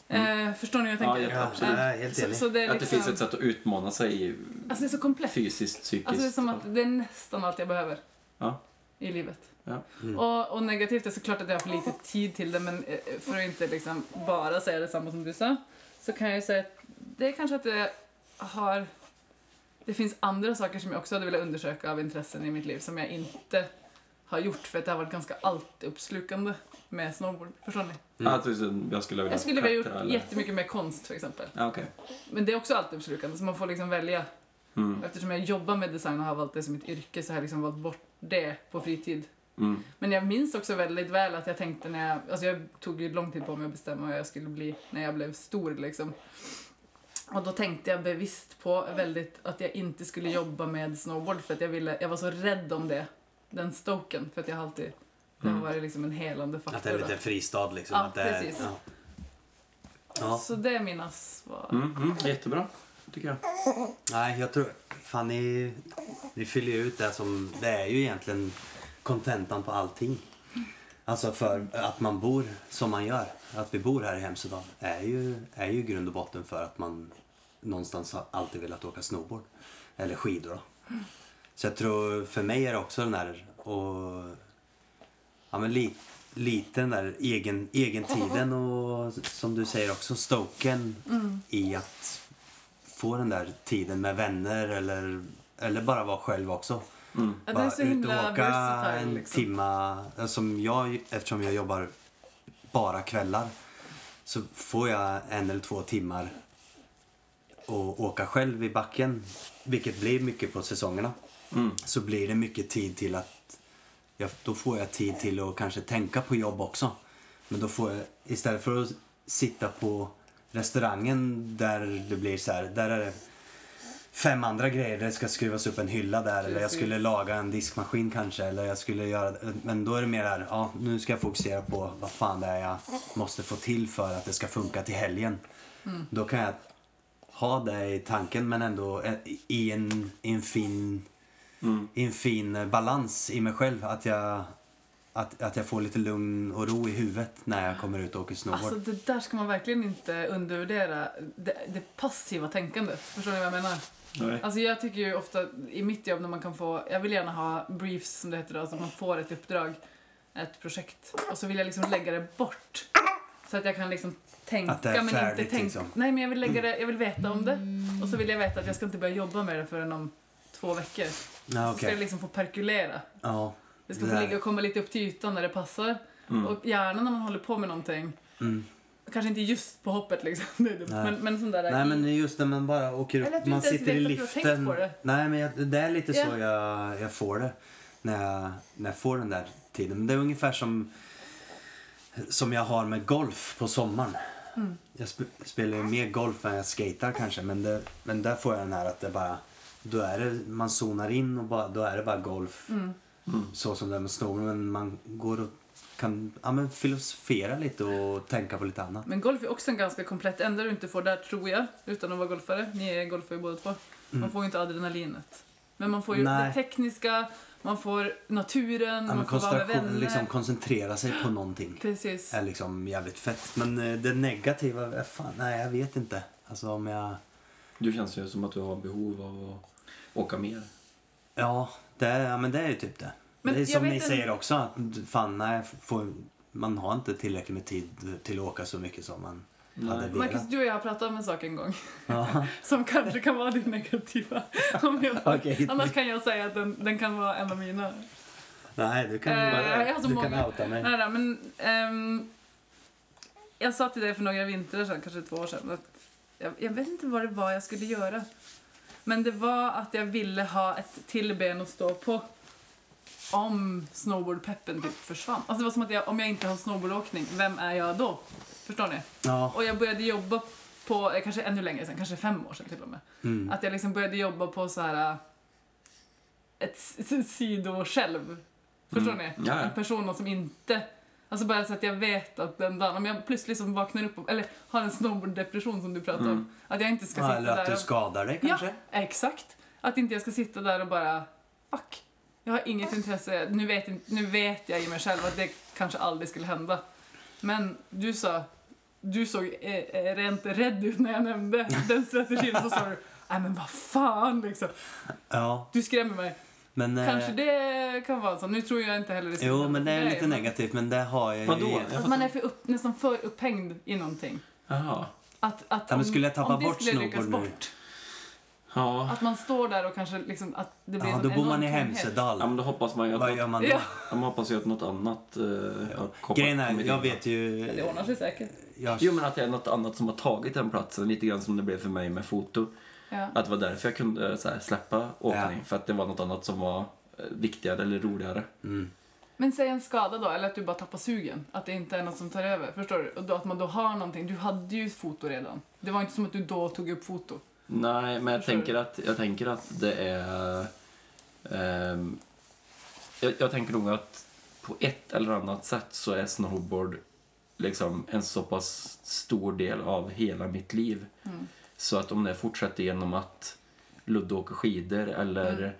A: Eh, förstår ni hur jag
C: Ja,
A: tänker? Eh,
C: jag-
B: Ja,
C: absolut.
B: jag är helt
A: så,
B: enig.
A: så det är
C: Att det finns
A: liksom,
C: ett sätt att utmana sig i
A: Alltså det är så komplett.
C: fysiskt, psykiskt.
A: Alltså det är som att det är nästan allt jag behöver
C: Ja.
A: i livet.
C: Ja.
A: Och, och negativt är såklart att jag har för lite tid till det men eh, för att inte liksom bara säga detsamma som du sa så kan jag ju säga att det är kanske att jag har... Det finns andra saker som jag också hade velat undersöka av intressen i mitt liv som jag inte har gjort för att det har varit ganska allt uppslukande med snowboard. Förstår ni?
C: Ja, att du- Alltså, jag skulle vilja
A: Jag skulle vilja
C: klättra
A: gjort
C: eller-
A: jättemycket mer konst till exempel.
C: Ja, okej.
A: Men det är också allt uppslukande så man får liksom välja.
C: Mm.
A: Eftersom jag jobbar med design och har valt det som ett yrke så har jag liksom valt bort det på fritid.
C: Mm.
A: Men jag minns också väldigt väl att jag tänkte när jag, alltså jag tog ju lång tid på mig att bestämma vad jag skulle bli när jag blev stor liksom. Och då tänkte jag bevisst på väldigt att jag inte skulle jobba med snowboard för att jag ville, jag var så rädd om det. Den stoken, för att jag har alltid, det
C: Mm.
A: har varit liksom en helande faktor.
B: Att det är
A: då.
B: lite fristad liksom.
A: Ja,
B: att det är,
A: precis.
B: Ja. Ja.
A: Så det mina svar.
C: Mm. Mm. Jättebra, tycker jag.
B: Nej, jag tror... Fan, ni, ni fyller ju ut det som... Det är ju egentligen kontentan på allting. Alltså för att man bor som man gör. Att vi bor här i Hemsedal är ju, är ju grund och botten för att man någonstans har alltid velat åka snowboard. Eller skidor då. Så jag tror för mig är det också den här och ja, men li, lite den där egen, egentiden och som du säger också stoken i att få den där tiden med vänner eller, eller bara vara själv också.
A: Ja, det är
B: bara
A: så himla
B: åka
A: versatile,
B: en
A: liksom.
B: timma. Som jag, eftersom jag jobbar bara kvällar så får jag en eller två timmar och åka själv i backen, vilket blir mycket på säsongerna, så blir det mycket tid till att... Jag, då får jag tid till att kanske tänka på jobb också. Men då får jag, istället för att sitta på restaurangen där det blir så här, där är det fem andra grejer, det ska skruvas upp en hylla där eller jag
A: Precis.
B: skulle laga en diskmaskin kanske eller jag skulle göra... Men då är det mer här, ja nu ska jag fokusera på vad fan det är jag måste få till för att det ska funka till helgen.
A: Mm.
B: Då kan jag ha det i tanken men ändå eh, i en, i en fin i en fin eh, balans i mig själv. Att jag, att, att jag får lite lugn och ro i huvudet när jag kommer ut och åker snowboard.
A: Ah. Alltså det där ska man verkligen inte undervärdera. Det, det passiva tänkandet. Förstår ni vad jag menar?
C: Nej.
A: Alltså jag tycker ju ofta i mitt jobb när man kan få, jag vill gärna ha briefs som det heter då, alltså att man får ett uppdrag, ett projekt och så vill jag liksom lägga det bort. Så att jag kan liksom tänka
B: Att det är
A: men inte
B: färdigt,
A: tänka.
B: liksom.
A: Nej men jag vill lägga det, jag vill veta om det och så vill jag veta att jag ska inte börja jobba med det förrän om två veckor.
B: ja,
A: Så ska
B: okej.
A: det liksom få perkulera.
B: ja.
A: Det ska få
B: där. Mm.
A: ligga och komma lite upp till ytan när det passar. Och gärna när man håller på med någonting. Kanske inte just på hoppet liksom. Det är dumt.
B: Nej.
A: Men, men sån där...
B: Nej men det är just när man bara åker
A: Eller att
B: upp,
A: du
B: man
A: inte ens
B: sitter i
A: vet att du har tänkt
B: liften.
A: på det.
B: Nej men jag, det är lite
A: Ja.
B: så jag, jag får det. När jag, när jag får den där tiden. Men det är ungefär som, som jag har med golf på sommaren.
A: Mm.
B: Jag sp spelar ju mer golf än jag skatar kanske men, det, men där får jag den här att det bara, då är det, man zonar in och bara, då är det bara golf.
A: Mm.
B: Så som det är med snowboard men man går och kan ja, men filosofera lite och tänka på lite annat.
A: Men golf är också en ganska komplett. Enda du inte får där, tror jag, utan att vara golfare, ni är golfare båda två, man får ju inte adrenalinet. Men man får ju
B: Mm. Nej.
A: det tekniska, man får naturen,
B: Ja, men
A: man får vara med
B: koncentration,
A: vänner.
B: liksom koncentrera sig på någonting
A: Precis.
B: är liksom jävligt fett. Men eh, det negativa, eh, fan, nej jag vet inte. Alltså om jag,
C: Du känns ju som att du har behov av att åka mer.
B: ja det, är- ja, men det är ju typ det.
A: Men
B: det är
A: jag
B: som
A: vet
B: ni
A: en-
B: säger också, att fan nej, får, man har inte tillräckligt med tid till att åka så mycket som man hade velat.
A: Marcus, du och jag har pratat om en sak en gång
B: Ja.
A: som kanske kan vara din negativa. Om jag
B: Okej.
A: Annars kan jag säga att den, den kan vara en av mina.
B: Nej, du kan,
A: Eh,
B: bara,
A: jag har så
B: du kan
A: många. Eh,
B: outa mig.
A: Nej, nej, men, ehm, jag sa till dig för några vintrar sedan, kanske två år sedan, att jag, jag vet inte vad det var jag skulle göra. Men det var att jag ville ha ett till ben att stå på om snowboardpeppen typ försvann. Alltså det var som att jag, om jag inte har snowboardåkning, vem är jag då? Förstår ni?
B: Ja,
A: Och jag började jobba på, eh, kanske ännu längre sedan, kanske fem år sedan till och med.
B: Mm.
A: Att jag liksom började jobba på så här eh, ett s- s- sido-själv. Förstår
B: Mm.
A: ni?
C: Ja, ja.
A: En person som inte, alltså bara så att jag vet att den dagen, om jag plötsligt liksom vaknar upp, och, eller har en snowboard-depression som du pratar om, att jag inte ska
B: Mm. ja
A: sitta
B: eller
A: där
B: att du
A: och...
B: skadar dig
A: Ja,
B: kanske.
A: exakt. Att inte jag ska sitta där och bara, fuck. Jag har inget intresse. Nu vet, inte- nu vet jag i mig själv att det kanske aldrig skulle hända. Men du sa, du såg eh, eh, rent rädd ut när jag nämnde den strategin. Så sa du, nej men vad fan liksom.
B: Ja,
A: Du skrämmer mig.
B: men... eh,
A: Kanske det kan vara så. Nu tror jag inte heller det skulle
B: Jo,
A: hända
B: men det är
A: för dig,
B: lite
A: men-
B: negativt, men det har jag
C: Vadå?
B: ju...
C: Jag
A: Att
C: fattar-
A: man är för upp, nästan för upphängd i någonting.
C: Jaha.
A: Att, att
B: Ja, men skulle jag tappa
A: om det
B: bort
A: skulle
B: snowboard
A: ryckas
B: nu?
A: bort,
C: Ja.
A: Att man står där och kanske liksom att det blir
B: Ja,
A: en
B: då
A: sån
B: bor man i
A: enorm tomhet.
B: Hemsedal.
C: ja, men då hoppas man ju att,
B: Vad gör
C: något,
B: man då?
A: Ja,
C: ja, man hoppas ju att något annat eh, har kommit-
B: Grejen är,
C: kommit
B: jag
C: in.
B: vet ju...
A: det ordnar sig säkert.
B: Jag,
C: Jo, men att det är något annat som har tagit den platsen, lite grann som det blev för mig med foto.
A: Ja.
C: Att det var därför jag kunde eh, så här, släppa åkning, för att det var något annat som var eh, viktigare eller roligare.
A: Men säg en skada då, eller att du bara tappar sugen. Att det inte är något som tar över. Förstår du? Och då att man då har någonting. Du hade ju foto redan. Det var inte som att du då tog upp foto.
C: Nej, men jag
A: Förstår
C: tänker,
A: du?
C: att, jag tänker att det är... ehm, jag, jag tänker nog att på ett eller annat sätt så är snowboard liksom en så pass stor del av hela mitt liv.
A: Mm.
C: Så att om det fortsätter genom att Ludde åker skidor eller
A: Mm.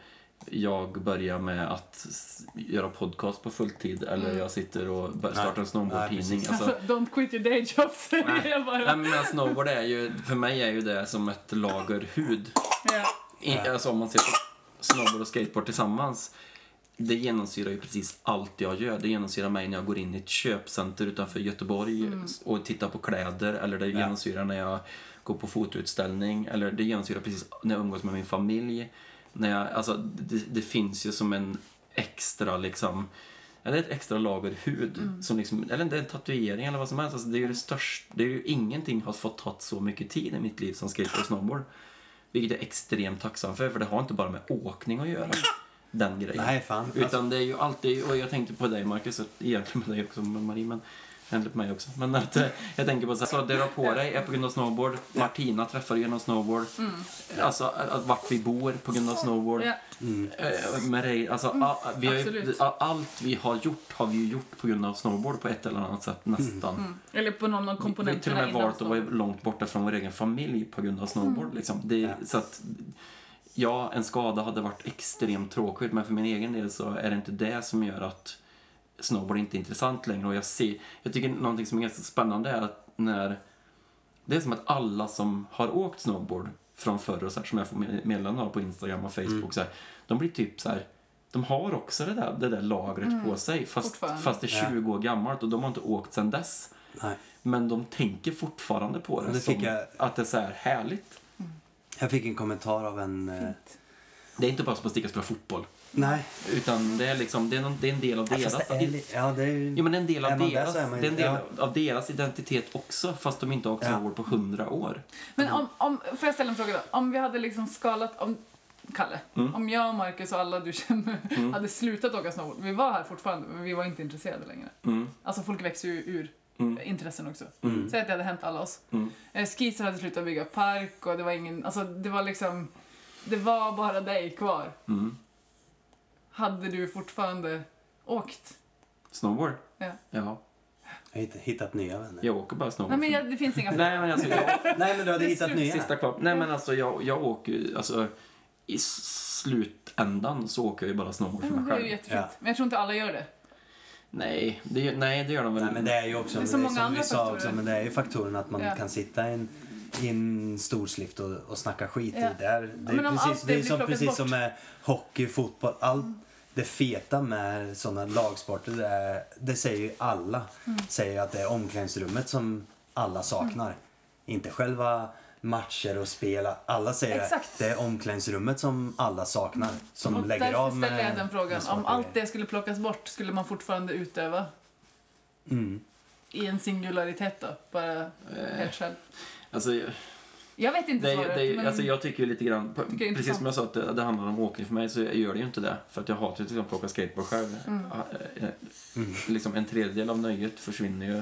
C: jag börjar med att s- göra podcast på fulltid eller
A: Mm.
C: jag sitter och bör- startar en snowboardtidning.
B: precis.
C: Alltså,
A: Alltså, don't quit your day job, säger jag
C: nej,
A: bara.
C: men alltså, snowboard är ju, för mig är ju det som ett lager hud.
A: Ja.
C: I, alltså om man ser på snowboard och skateboard tillsammans. Det genomsyrar ju precis allt jag gör. Det genomsyrar mig när jag går in i ett köpcenter utanför Göteborg och tittar på kläder. Eller det genomsyrar när jag går på fotoutställning. Eller det genomsyrar precis när jag umgås med min familj. När jag, alltså, det, det finns ju som en extra liksom eller ett extra lager hud, som liksom, eller det är en tatuering eller vad som helst. Alltså det är ju det största, det är ju ingenting har fått ta så mycket tid i mitt liv som skateboard och snowboard. Vilket jag är extremt tacksam för, för det har inte bara med åkning att göra. Den grejen.
B: Nej, fan. Alltså,
C: Utan det är ju alltid, och jag tänkte på dig Marcus, och egentligen med dig också, med Marie, men egentligen på mig också. Men att, eh, jag tänker på så, här, så det du har på dig är på grund av snowboard, Martina träffar du genom snowboard, alltså att, vart vi bor på grund av snowboard.
A: Mm. Ja. Mm.
C: Eh, Med dig, alltså, a- a- vi har ju,
A: absolut.
C: a- allt vi har gjort har vi ju gjort på grund av snowboard på ett eller annat sätt
B: Mm.
C: nästan.
A: Eller på någon av
C: Vi har ju till och
A: komponenterna
C: med valt att
A: snart.
C: vara långt borta från vår egen familj på grund av snowboard.
A: Mm.
C: Liksom. Det, är- Så att, ja, en skada hade varit extremt tråkigt men för min egen del så är det inte det som gör att snowboard inte är intressant längre. Och jag, ser, jag tycker någonting som är ganska spännande är att när det är som att alla som har åkt snowboard från förr och så här, som jag får med- meddelanden av på Instagram och Facebook, så här, de blir typ så här, de har också det där, det där lagret på sig fast,
A: Mm. Fortfarande.
C: fast det är 20 år gammalt och de har inte åkt sedan dess.
B: Nej.
C: Men de tänker fortfarande på det,
B: Det
C: som
B: fick jag-
C: att det är så här härligt.
B: Jag fick en kommentar av en... eh,
C: Det är inte bara som att sticka och spela fotboll.
B: Nej.
C: Utan det är, liksom, det är, någon, det är en del av deras...
B: Fast det är, li- ja, det är ju...
C: Jo, men det är en del
B: är
C: av,
B: man där
C: deras,
B: så är man ju-
C: det är en del
B: ja.
C: av deras identitet också, fast de inte har åkt
B: Ja.
C: snowboard på hundra år.
A: Men om, om, får jag ställa en fråga då? Om vi hade liksom skalat, om, Kalle,
C: Mm.
A: om jag och Marcus och alla du känner hade slutat åka snowboard. Vi var här fortfarande, men vi var inte intresserade längre.
C: Mm.
A: Alltså folk växer ju ur intressen också.
C: Mm.
A: Säg att det hade hänt alla oss.
C: Mm.
A: Eh, Skisar hade slutat bygga park och det var ingen, alltså det var liksom, det var bara dig kvar.
C: Mm.
A: Hade du fortfarande åkt?
C: Snowboard?
A: Ja.
C: Ja.
B: Jag har hitt- hittat nya vänner.
C: Jag åker bara snowboard.
A: Nej men jag, det finns inga
C: Nej, men alltså, jag,
B: Nej, men du hade
A: Det är
B: hittat
A: slut.
B: nya.
C: Sista kvar. Nej men alltså jag, jag åker ju, alltså i slutändan så åker jag ju bara snowboard
A: Nej,
C: för
A: men
C: mig
A: Det är ju
C: själv.
A: jättefint.
B: Ja.
A: Men jag tror inte alla gör det.
C: Nej, det, nej, det gör de väl
B: Nej, men det är ju också,
A: Det är så många
B: som
A: andra
B: vi sa
A: faktorer.
B: också, men det är ju faktorn att man
A: Ja.
B: kan sitta i en, i en stor slift och, och snacka skit.
A: Ja.
B: i Det, är, det, är
A: men om
B: precis,
A: allt
B: det är
A: det
B: som,
A: blir
B: precis
A: plockat
B: som
A: bort.
B: med hockey, fotboll. Allt det feta med sådana lagsporter, det, är, det säger ju alla.
A: Mm.
B: Säger ju att det är omklädningsrummet som alla saknar. Inte själva matcher och spel. Alla säger att
A: Exakt. Mm.
B: det är omklädningsrummet som alla saknar. Som
A: Och
B: lägger
A: därför
B: av med...
A: ställer jag den
B: med
A: frågan.
B: smarta
A: Om allt
B: grejer.
A: det skulle plockas bort, skulle man fortfarande utöva?
B: Mm.
A: I en singularitet då? Bara helt själv?
C: Eh, Alltså, jag-
A: Jag vet inte
C: det,
A: svaret,
C: är- det, är-
A: men...
C: alltså jag tycker ju lite grann, på-
A: det är
C: precis som jag sa att det, det handlar om åkning för mig så gör det ju inte det. För att jag hatar ju till exempel att åka skateboard själv.
A: Mm.
C: Ja, eh, eh,
B: Mm.
C: Liksom en tredjedel av nöjet försvinner ju,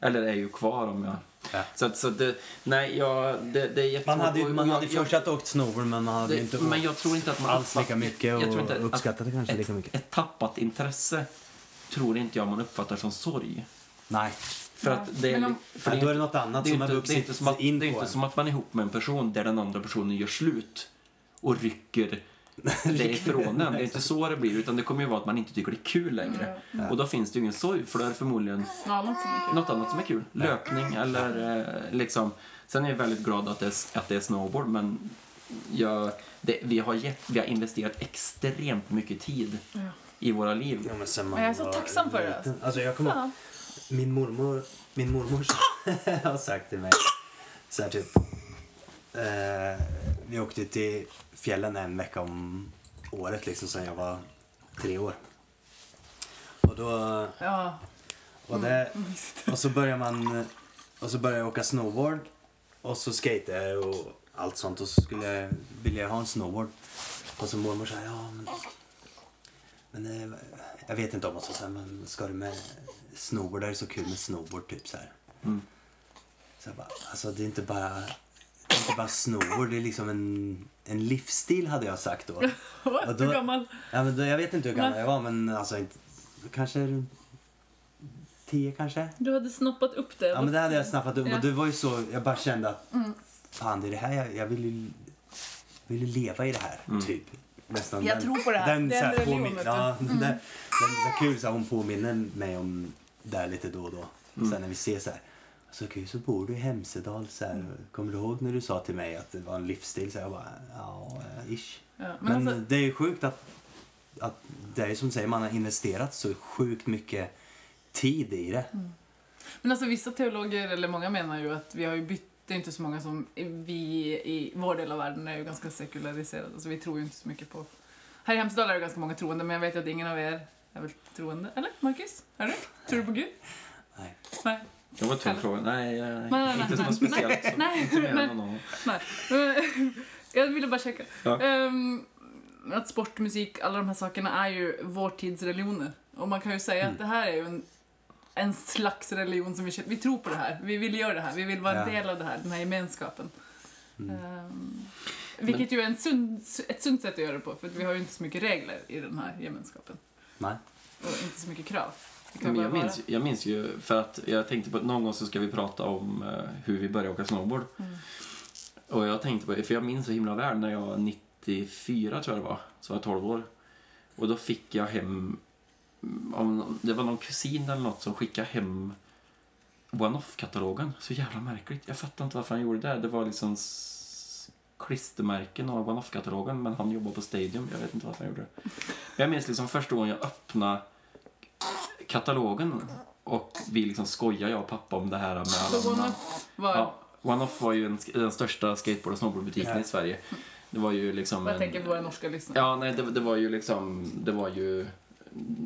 C: eller är ju kvar om jag...
B: Ja.
C: Så att, så att det, nej, jag, det, det är jättesvårt.
B: Man hade ju
C: Och-
B: man
C: och
B: hade
C: jag-
B: ju fortsatt åkt snowboard men man hade ju inte
C: det,
B: åkt
C: men jag tror inte att man
B: alls lika
C: uppfattar-
B: mycket och
C: jag tror inte att-
B: uppskattat det kanske
C: ett,
B: lika mycket.
C: Ett tappat intresse tror inte jag man uppfattar som sorg.
B: Nej.
C: För
A: Nej.
C: att det är,
A: Men om-
C: för
B: Ja, då är det något annat
C: det är
B: som
C: inte,
B: har
C: det är inte
B: vuxit
C: som att,
B: in
C: Det är
B: på
C: inte
B: en.
C: som att man är ihop med en person där den andra personen gör slut och rycker därifrån den. Det är inte så det blir, utan det kommer ju vara att man inte tycker det är kul längre.
A: Mm.
C: Och då finns det ju ingen sorg, för då är det förmodligen
A: Ja, något som är kul.
C: något annat som är kul. Löpning eller eh, liksom. Sen är jag väldigt glad att det är, att det är snowboard, men jag, det, vi, har gett, vi har investerat extremt mycket tid
A: Ja.
C: i våra liv.
B: Ja, men sen
A: Men jag är så
B: var
A: tacksam för det.
B: liten- Alltså jag kommer ihåg,
A: Ja.
B: min mormor, min mormor har sagt till mig så här typ. Eh, vi åkte till fjällen en vecka om året liksom sen jag var tre år. Och då
A: Ja.
B: och, det, och så börjar man och så börjar jag åka snowboard och så skate och allt sånt och så skulle jag vilja ha en snowboard. Och så mormor säger ja men, men eh, jag vet inte om hon sa så här, men ska du med snowboard, det är så kul med snowboard typ så här. Så jag bara, alltså det är inte bara det är inte bara snowboard, det är liksom en, en livsstil hade jag sagt då.
A: Åh,
B: Och då-
A: Hur gammal?
B: Ja, men då, jag vet inte hur gammal jag var, men alltså inte, kanske runt tio kanske.
A: Du hade snoppat upp det.
B: Ja, men det hade jag snappat upp.
A: Ja. Mm.
B: Och det var ju så, jag bara kände att fan, det är det här jag, jag vill ju vill ju leva i det här, typ. Nästan
A: Jag tror på det här. Det är
B: så
A: en religion,
B: påmin-
A: vet du.
B: ja, den, den är så kul så här, hon påminner mig om det här lite då och då. Sen när vi ses så här. Så kul, så bor du i Hemsedal så här.
A: Mm.
B: Kommer du ihåg när du sa till mig att det var en livsstil? Så jag bara, ja, eh, ish.
A: Ja, men
B: men
A: alltså-
B: det är ju sjukt att, att det är ju som du säger, man har investerat så sjukt mycket tid i det.
A: Mm. Men alltså vissa teologer, eller många menar ju att vi har ju bytt, det är inte så många som, vi i vår del av världen är ju ganska sekulariserade, alltså vi tror ju inte så mycket på. Här i Hemsedal är det ganska många troende, men jag vet ju att ingen av er är väl troende, eller Marcus? Är du? Tror du på Gud?
B: Nej.
A: Nej.
C: Det var en tung fråga. Nej, eh,
A: nej, nej,
C: inte som
A: nej.
C: något speciellt. så.
A: Nej,
C: Inte mer än
A: nej.
C: någon annan.
A: Nej. Men- jag ville bara checka.
C: Ja.
A: Ehm, att sport, musik, alla de här sakerna är ju vår tids religioner. Och man kan ju säga
C: Mm.
A: att det här är ju en, en slags religion som vi känner. Vi tror på det här, vi vill göra det här, vi vill vara en
B: Ja.
A: del av det här, den här gemenskapen.
C: Mm.
B: Mm.
A: Ehm, vilket ju är en sund, ett sunt sätt att göra det på, för att vi har ju inte så mycket regler i den här gemenskapen.
B: Nej.
A: Och inte så mycket krav. Det kan
C: Men
A: bara
C: jag,
A: vara.
C: minns, jag minns ju, för att jag tänkte på att någon gång så ska vi prata om eh, hur vi började åka snowboard.
A: Mm.
C: Och jag tänkte på, för jag minns så himla väl när jag var 94 tror jag det var, så var jag 12 år. Och då fick jag hem, om, det var någon kusin eller något som skickade hem One-Off-katalogen. Så jävla märkligt. Jag fattar inte varför han gjorde det. Det var liksom s- klistermärken av One-Off-katalogen men han jobbar på Stadium. Jag vet inte varför han gjorde det. Men jag minns liksom första gången jag öppnade katalogen och vi liksom skojar jag och pappa om det här med alla
A: Så
C: namn.
A: one-off var,
C: Ja, One-Off var ju en, sk- den största skateboard och snowboardbutiken
B: Ja.
C: i Sverige. Det var ju liksom
A: vad jag
C: en-
A: tänker på våra norska lyssnare.
C: Ja, nej, det, det var ju liksom, det var ju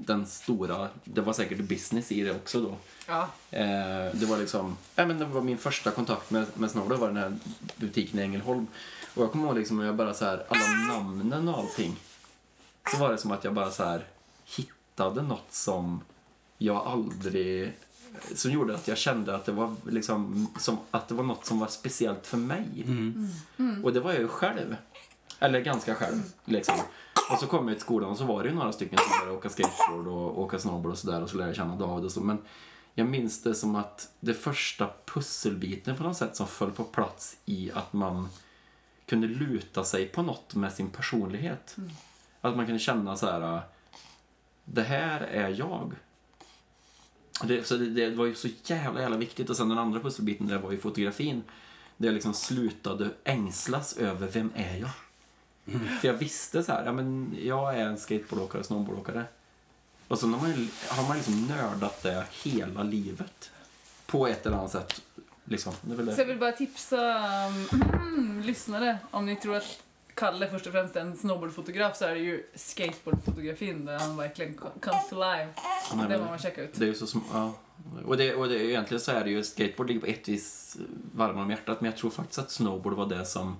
C: den stora, det var säkert business i det också då.
A: Ja.
C: Eh, det var liksom, ja, men det var min första kontakt med, med snowboard, var den här butiken i Ängelholm. Och jag kommer ihåg liksom, jag bara så här, alla namnen och allting. Så var det som att jag bara så här hittade något som jag aldrig, som gjorde att jag kände att det var liksom, som, att det var något som var speciellt för mig. Och det var jag ju själv. Eller ganska själv, liksom. Och så kom jag till skolan och så var det ju några stycken som började åka skateboard och åka snowboard och sådär och så lärde jag känna David och så. Men jag minns det som att det första pusselbiten på något sätt som föll på plats i att man kunde luta sig på något med sin personlighet. Att man kunde känna så här. det här är jag. Det, så det, det var ju så jävla, jävla viktigt. Och sen den andra pusselbiten där var ju fotografin. Där jag liksom slutade ängslas över vem är jag? För jag visste så här, ja men jag är en skateboardåkare och snowboardåkare. Och så har man, ju- har man liksom nördat det hela livet. På ett eller annat sätt. Liksom. Det är väl det.
A: Så jag vill bara tipsa um, lyssnare. Om ni tror att Kalle först och främst är en snowboardfotograf så är det ju skateboardfotografin där han verkligen co- comes to life.
C: Nej,
A: Det
C: men-
A: må man checka ut.
C: Det är ju så sm- ja. Och, det, och det, egentligen så är det ju, skateboard ligger på ett vis varmare om hjärtat, men jag tror faktiskt att snowboard var det som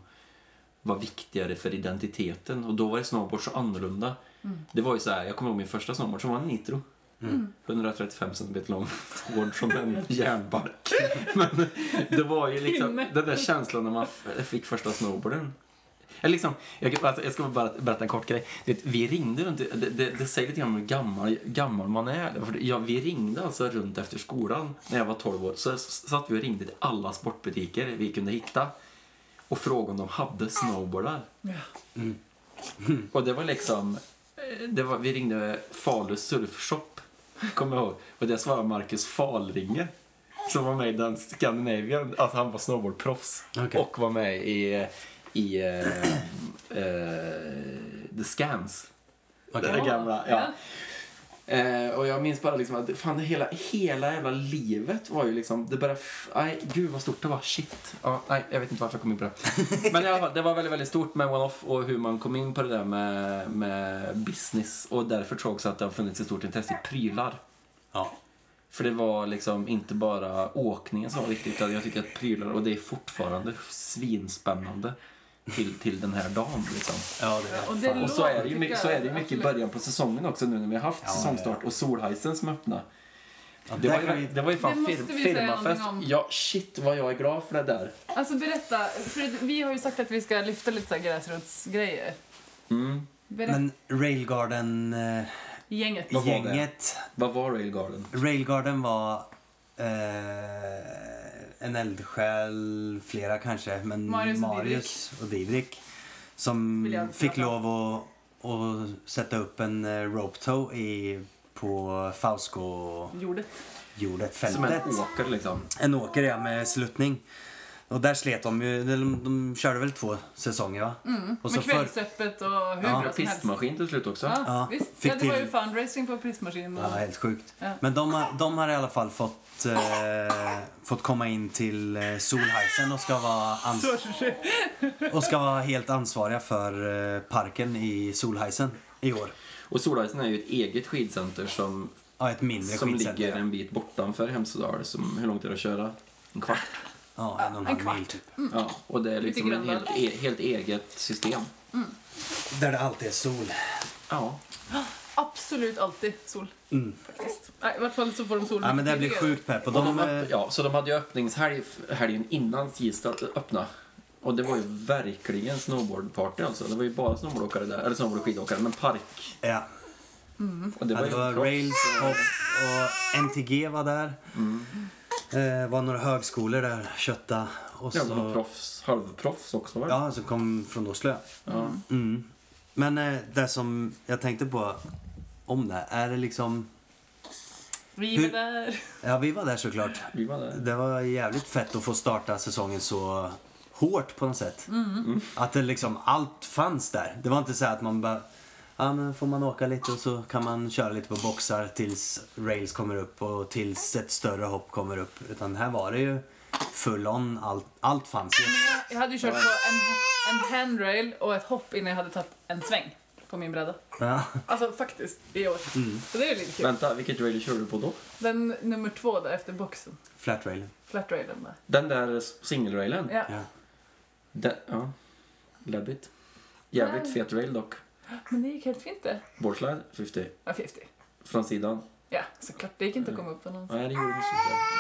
C: var viktigare för identiteten. Och då var det snowboard så annorlunda. Det var ju så här, jag kommer ihåg min första snowboard som var en nitro. 135 cm lång, hård som en järnbark. Men det var ju liksom den där känslan när man f- fick första snowboarden. Eller liksom, jag, kan- alltså, jag ska bara berätta en kort grej. Du vet, vi ringde runt, det, det, det säger lite grann om hur gammal, gammal man är. För det- ja, vi ringde alltså runt efter skolan när jag var 12 år. Så s- satt vi och ringde till alla sportbutiker vi kunde hitta och frågade om de hade snowboardar.
A: Ja.
C: Och det var liksom, eh, det var, vi ringde Falu surfshop, kommer jag ihåg. Och det svarade Marcus Falringe, som var med i den Scandinavian, alltså han var snowboardproffs.
B: Okej.
C: Och var med i, i eh, eh, The Scans.
B: Okej.
C: Det gamla, ja. Eh, och jag minns bara liksom att fan, det hela, hela jävla livet var ju liksom, det bara, f- nej gud vad stort det var, shit. Ja, nej, jag vet inte varför jag kom in på det. Men i alla fall, det var väldigt, väldigt stort med One-Off och hur man kom in på det där med, med business. Och därför tror jag också att det har funnits ett stort intresse i prylar.
B: Ja.
C: För det var liksom inte bara åkningen som var viktigt, utan jag tycker att prylar, och det är fortfarande svinspännande till, till den här dagen liksom.
B: ja, det är
A: Och det
B: fan.
C: Och så är, det ju, my-
A: låter-
C: så är det ju mycket i början på säsongen också nu när vi har haft
B: ja,
C: säsongstart och Solheisen som öppnade.
B: Ja,
C: Det
B: där
C: var,
B: kan
C: ju,
B: vi-
C: det var ju fan
A: Det
C: fir,
A: måste vi säga
C: firmafest.
A: någonting om.
C: Ja, shit vad jag är glad för det där.
A: Alltså berätta, för att vi har ju sagt att vi ska lyfta lite så här gräsrotsgrejer.
C: Mm.
A: Berätta,
B: Men eh, Railgarden-gänget.
A: gänget.
C: Vad var det? Vad var Railgarden?
B: Railgarden var eh, en eldsjäl, flera kanske, men
A: Marius
B: Marius,
A: och
B: och Didrik som
A: Vill jag
B: fick
A: prata
B: lov att, att sätta upp en eh, rope toe i, på Fausko-jordet,
A: Jordet.
C: Som en
B: fältet.
C: åker liksom.
B: En åker ja, med sluttning. Och där slet de ju, de, de körde väl två säsonger va? och
A: Mm, Med
B: så för,
A: kvällsöppet och hur
C: Ja,
A: bra som helst.
C: pistmaskin till slut också.
A: Ja,
B: Ja,
A: visst.
B: fick
A: ja, det var ju
B: till-
A: fundraising på pistmaskinen.
B: Ja, helt sjukt.
A: Ja.
B: Men de, har- de har i alla fall fått, eh, fått komma in till eh, Solheisen och ska, vara ans- och ska vara helt ansvariga för eh, parken i Solheisen i år.
C: Och Solheisen är ju ett eget skidcenter som,
B: Ja, ett mindre
C: som
B: skidcenter.
C: ligger en bit bortanför Hemsedal. Som, hur långt är det att köra? En kvart?
B: Ja, en och
A: En
B: en halv
A: kvart. Mm.
B: mil typ.
C: Ja, och det är liksom ett
A: Lite
C: helt, e, helt eget system.
B: Där det alltid är sol.
C: Ja.
A: Absolut alltid sol. Faktiskt. Nej, I vart fall så får de sol.
B: Ja, Mm. men det blir
A: tidigare.
B: sjukt pepp. Och
C: Och de,
B: de, eh,
C: öpp- ja, så de hade ju öppningshelg helgen innan Kista öppnade. Och det var ju verkligen snowboardparty alltså. Det var ju bara snowboardåkare där, eller snowboard och skidåkare, men park.
B: ja,
C: Och det var
B: det
C: ju
B: var
C: proffs.
B: Rails och, och NTG var där.
C: Mm.
B: Eh, var några högskolor där, Kötta. Och
C: Ja, det var
B: så,
C: proffs, halvproffs också va?
B: ja, så kom från Oslo. ja.
C: Ja.
B: Mm. Men eh, det som jag tänkte på om det, här, är det liksom...
A: Vi är
B: Hur-
A: där.
B: Ja, vi var där såklart.
C: Vi var där.
B: Det var jävligt fett att få starta säsongen så hårt på något sätt. Att det liksom, allt fanns där. Det var inte så här att man bara, ja men får man åka lite och så kan man köra lite på boxar tills rails kommer upp och tills ett större hopp kommer upp. Utan här var det ju full on, allt, allt fanns ju.
A: Jag hade ju kört på en, en handrail och ett hopp innan jag hade tagit en sväng på min bräda.
B: Ja.
A: Alltså faktiskt, i år.
B: Mm.
A: Så det är ju lite kul.
C: Vänta, vilket rail körde du på då?
A: Den nummer två där efter boxen.
B: Flat rail.
A: Flatrailen där.
C: Den där singelrailen?
A: Ja.
B: Ja.
C: Den, ja. Läbbigt. Jävligt
A: Nej.
C: fet rail dock.
A: Men det gick helt fint det.
C: Boardslide 50.
A: Ja, 50.
C: Från sidan.
A: Ja, såklart. Det gick inte att komma upp på
B: Mm.
A: någon.
C: Nej, det gjorde du inte.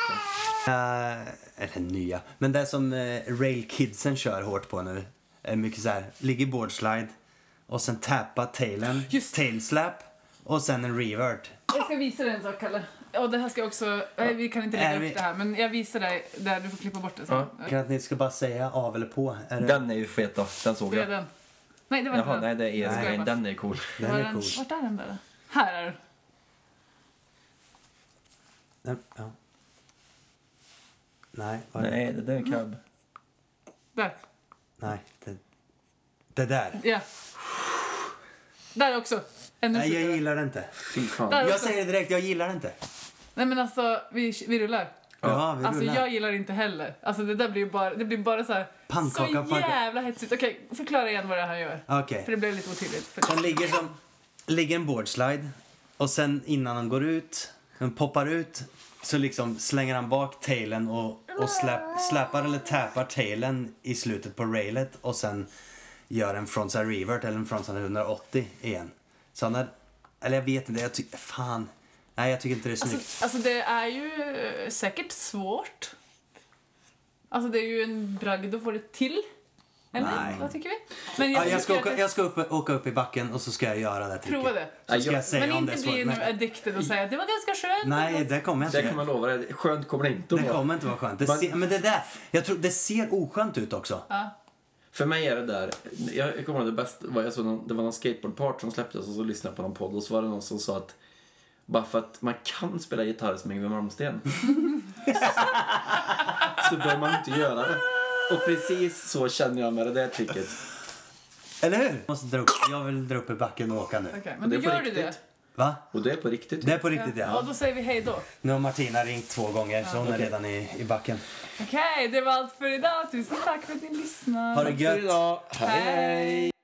C: Okej.
B: Eh, eller nya. Men det som eh, Rail Kidsen kör hårt på nu är mycket så här, ligger boardslide och sen tappa tailen,
A: Just det.
B: tailslap och sen en revert.
A: Jag ska visa dig en sak, Kalle. Och det här ska jag också... Nej, vi kan inte
B: Är
A: lägga
B: vi-
A: upp det här, men jag visar dig där. Du får klippa bort det sen.
C: Ja.
B: Kan att ni ska bara säga av eller på? Är det,
D: Den är ju fet då. Den såg
A: Det är
D: jag.
A: den. Nej, det var inte
D: Jaha,
A: den.
D: nej det är
A: Nej.
D: grejen. Den är cool.
B: den
A: Var
B: är cool.
A: Vart är den där? Här är den.
B: Den, ja. Nej, var det?
D: Nej, det där är en cab.
A: Där.
B: Nej. Det, det där.
A: Ja. Där också. Ännu
B: Nej, jag
A: sjukare.
B: gillar det inte.
A: Alltså-
C: Fy fan.
A: Där
B: Jag
A: också.
B: säger det direkt, jag gillar det inte.
A: Nej men alltså, vi, vi rullar.
B: Ja, vi
A: Alltså
B: rullar.
A: jag gillar inte heller. Alltså det där blir ju bara, det blir bara så här.
B: Pannkaka,
A: så
B: pannkaka.
A: jävla hetsigt. Okej, förklara igen vad det här gör.
B: Okej.
A: För det blev lite otydligt. För...
B: Den ligger som ligger en boardslide och sen innan han går ut, den poppar ut så liksom slänger han bak tailen och, och släp, släpar eller täpar tailen i slutet på railet och sen gör en frontside revert eller en frontside 180 igen. Så han har, eller jag vet inte, jag tycker, fan. Nej jag tycker inte det är snyggt.
A: Alltså, alltså det är ju eh, säkert svårt. Alltså det är ju en bragd att få det till. Eller?
B: Nej.
A: Vad tycker vi? Men
B: ja, jag ska,
A: tycker
B: åka,
A: att
B: jag ska upp, åka upp i backen och så ska jag göra det här tricket.
A: Prova det.
B: Så ska
C: Ja,
B: jag säga
A: Men
B: om det
A: inte
B: är
A: bli
B: svårt.
A: nu
B: Men,
A: addicted och säga att det var ganska skönt.
B: nej, det kommer jag inte
C: Det kan
B: göra.
C: man lova dig. Skönt kommer det inte att
B: Det
C: vara.
B: kommer inte vara skönt. Det
C: Men-
B: ser, men det där, jag tror det ser oskönt ut också.
A: Ja.
C: För mig är det där, jag jag kommer ihåg det bästa, var jag såg någon, det var någon skateboardpart som släpptes och så lyssnade jag på någon podd och så var det någon som sa att bara för att man kan spela gitarr som Yngwie Malmsteen så bör man inte göra det. Och precis så känner jag med det där tricket.
B: Eller hur? Jag, måste dra upp. jag vill dra upp i backen och åka nu.
A: Okej, men
C: Det är
A: då
C: på
A: gör du det.
C: riktigt.
B: Va?
C: Och det är på riktigt.
B: Det är på riktigt
A: Ja,
B: ja.
A: då säger vi hej då.
B: Nu har Martina ringt två gånger så hon är
C: Okej.
B: redan i, i backen.
A: Okej, det var allt för idag. Tusen tack för att ni lyssnade.
B: Ha det gött!
C: Idag. Hej!
A: hej.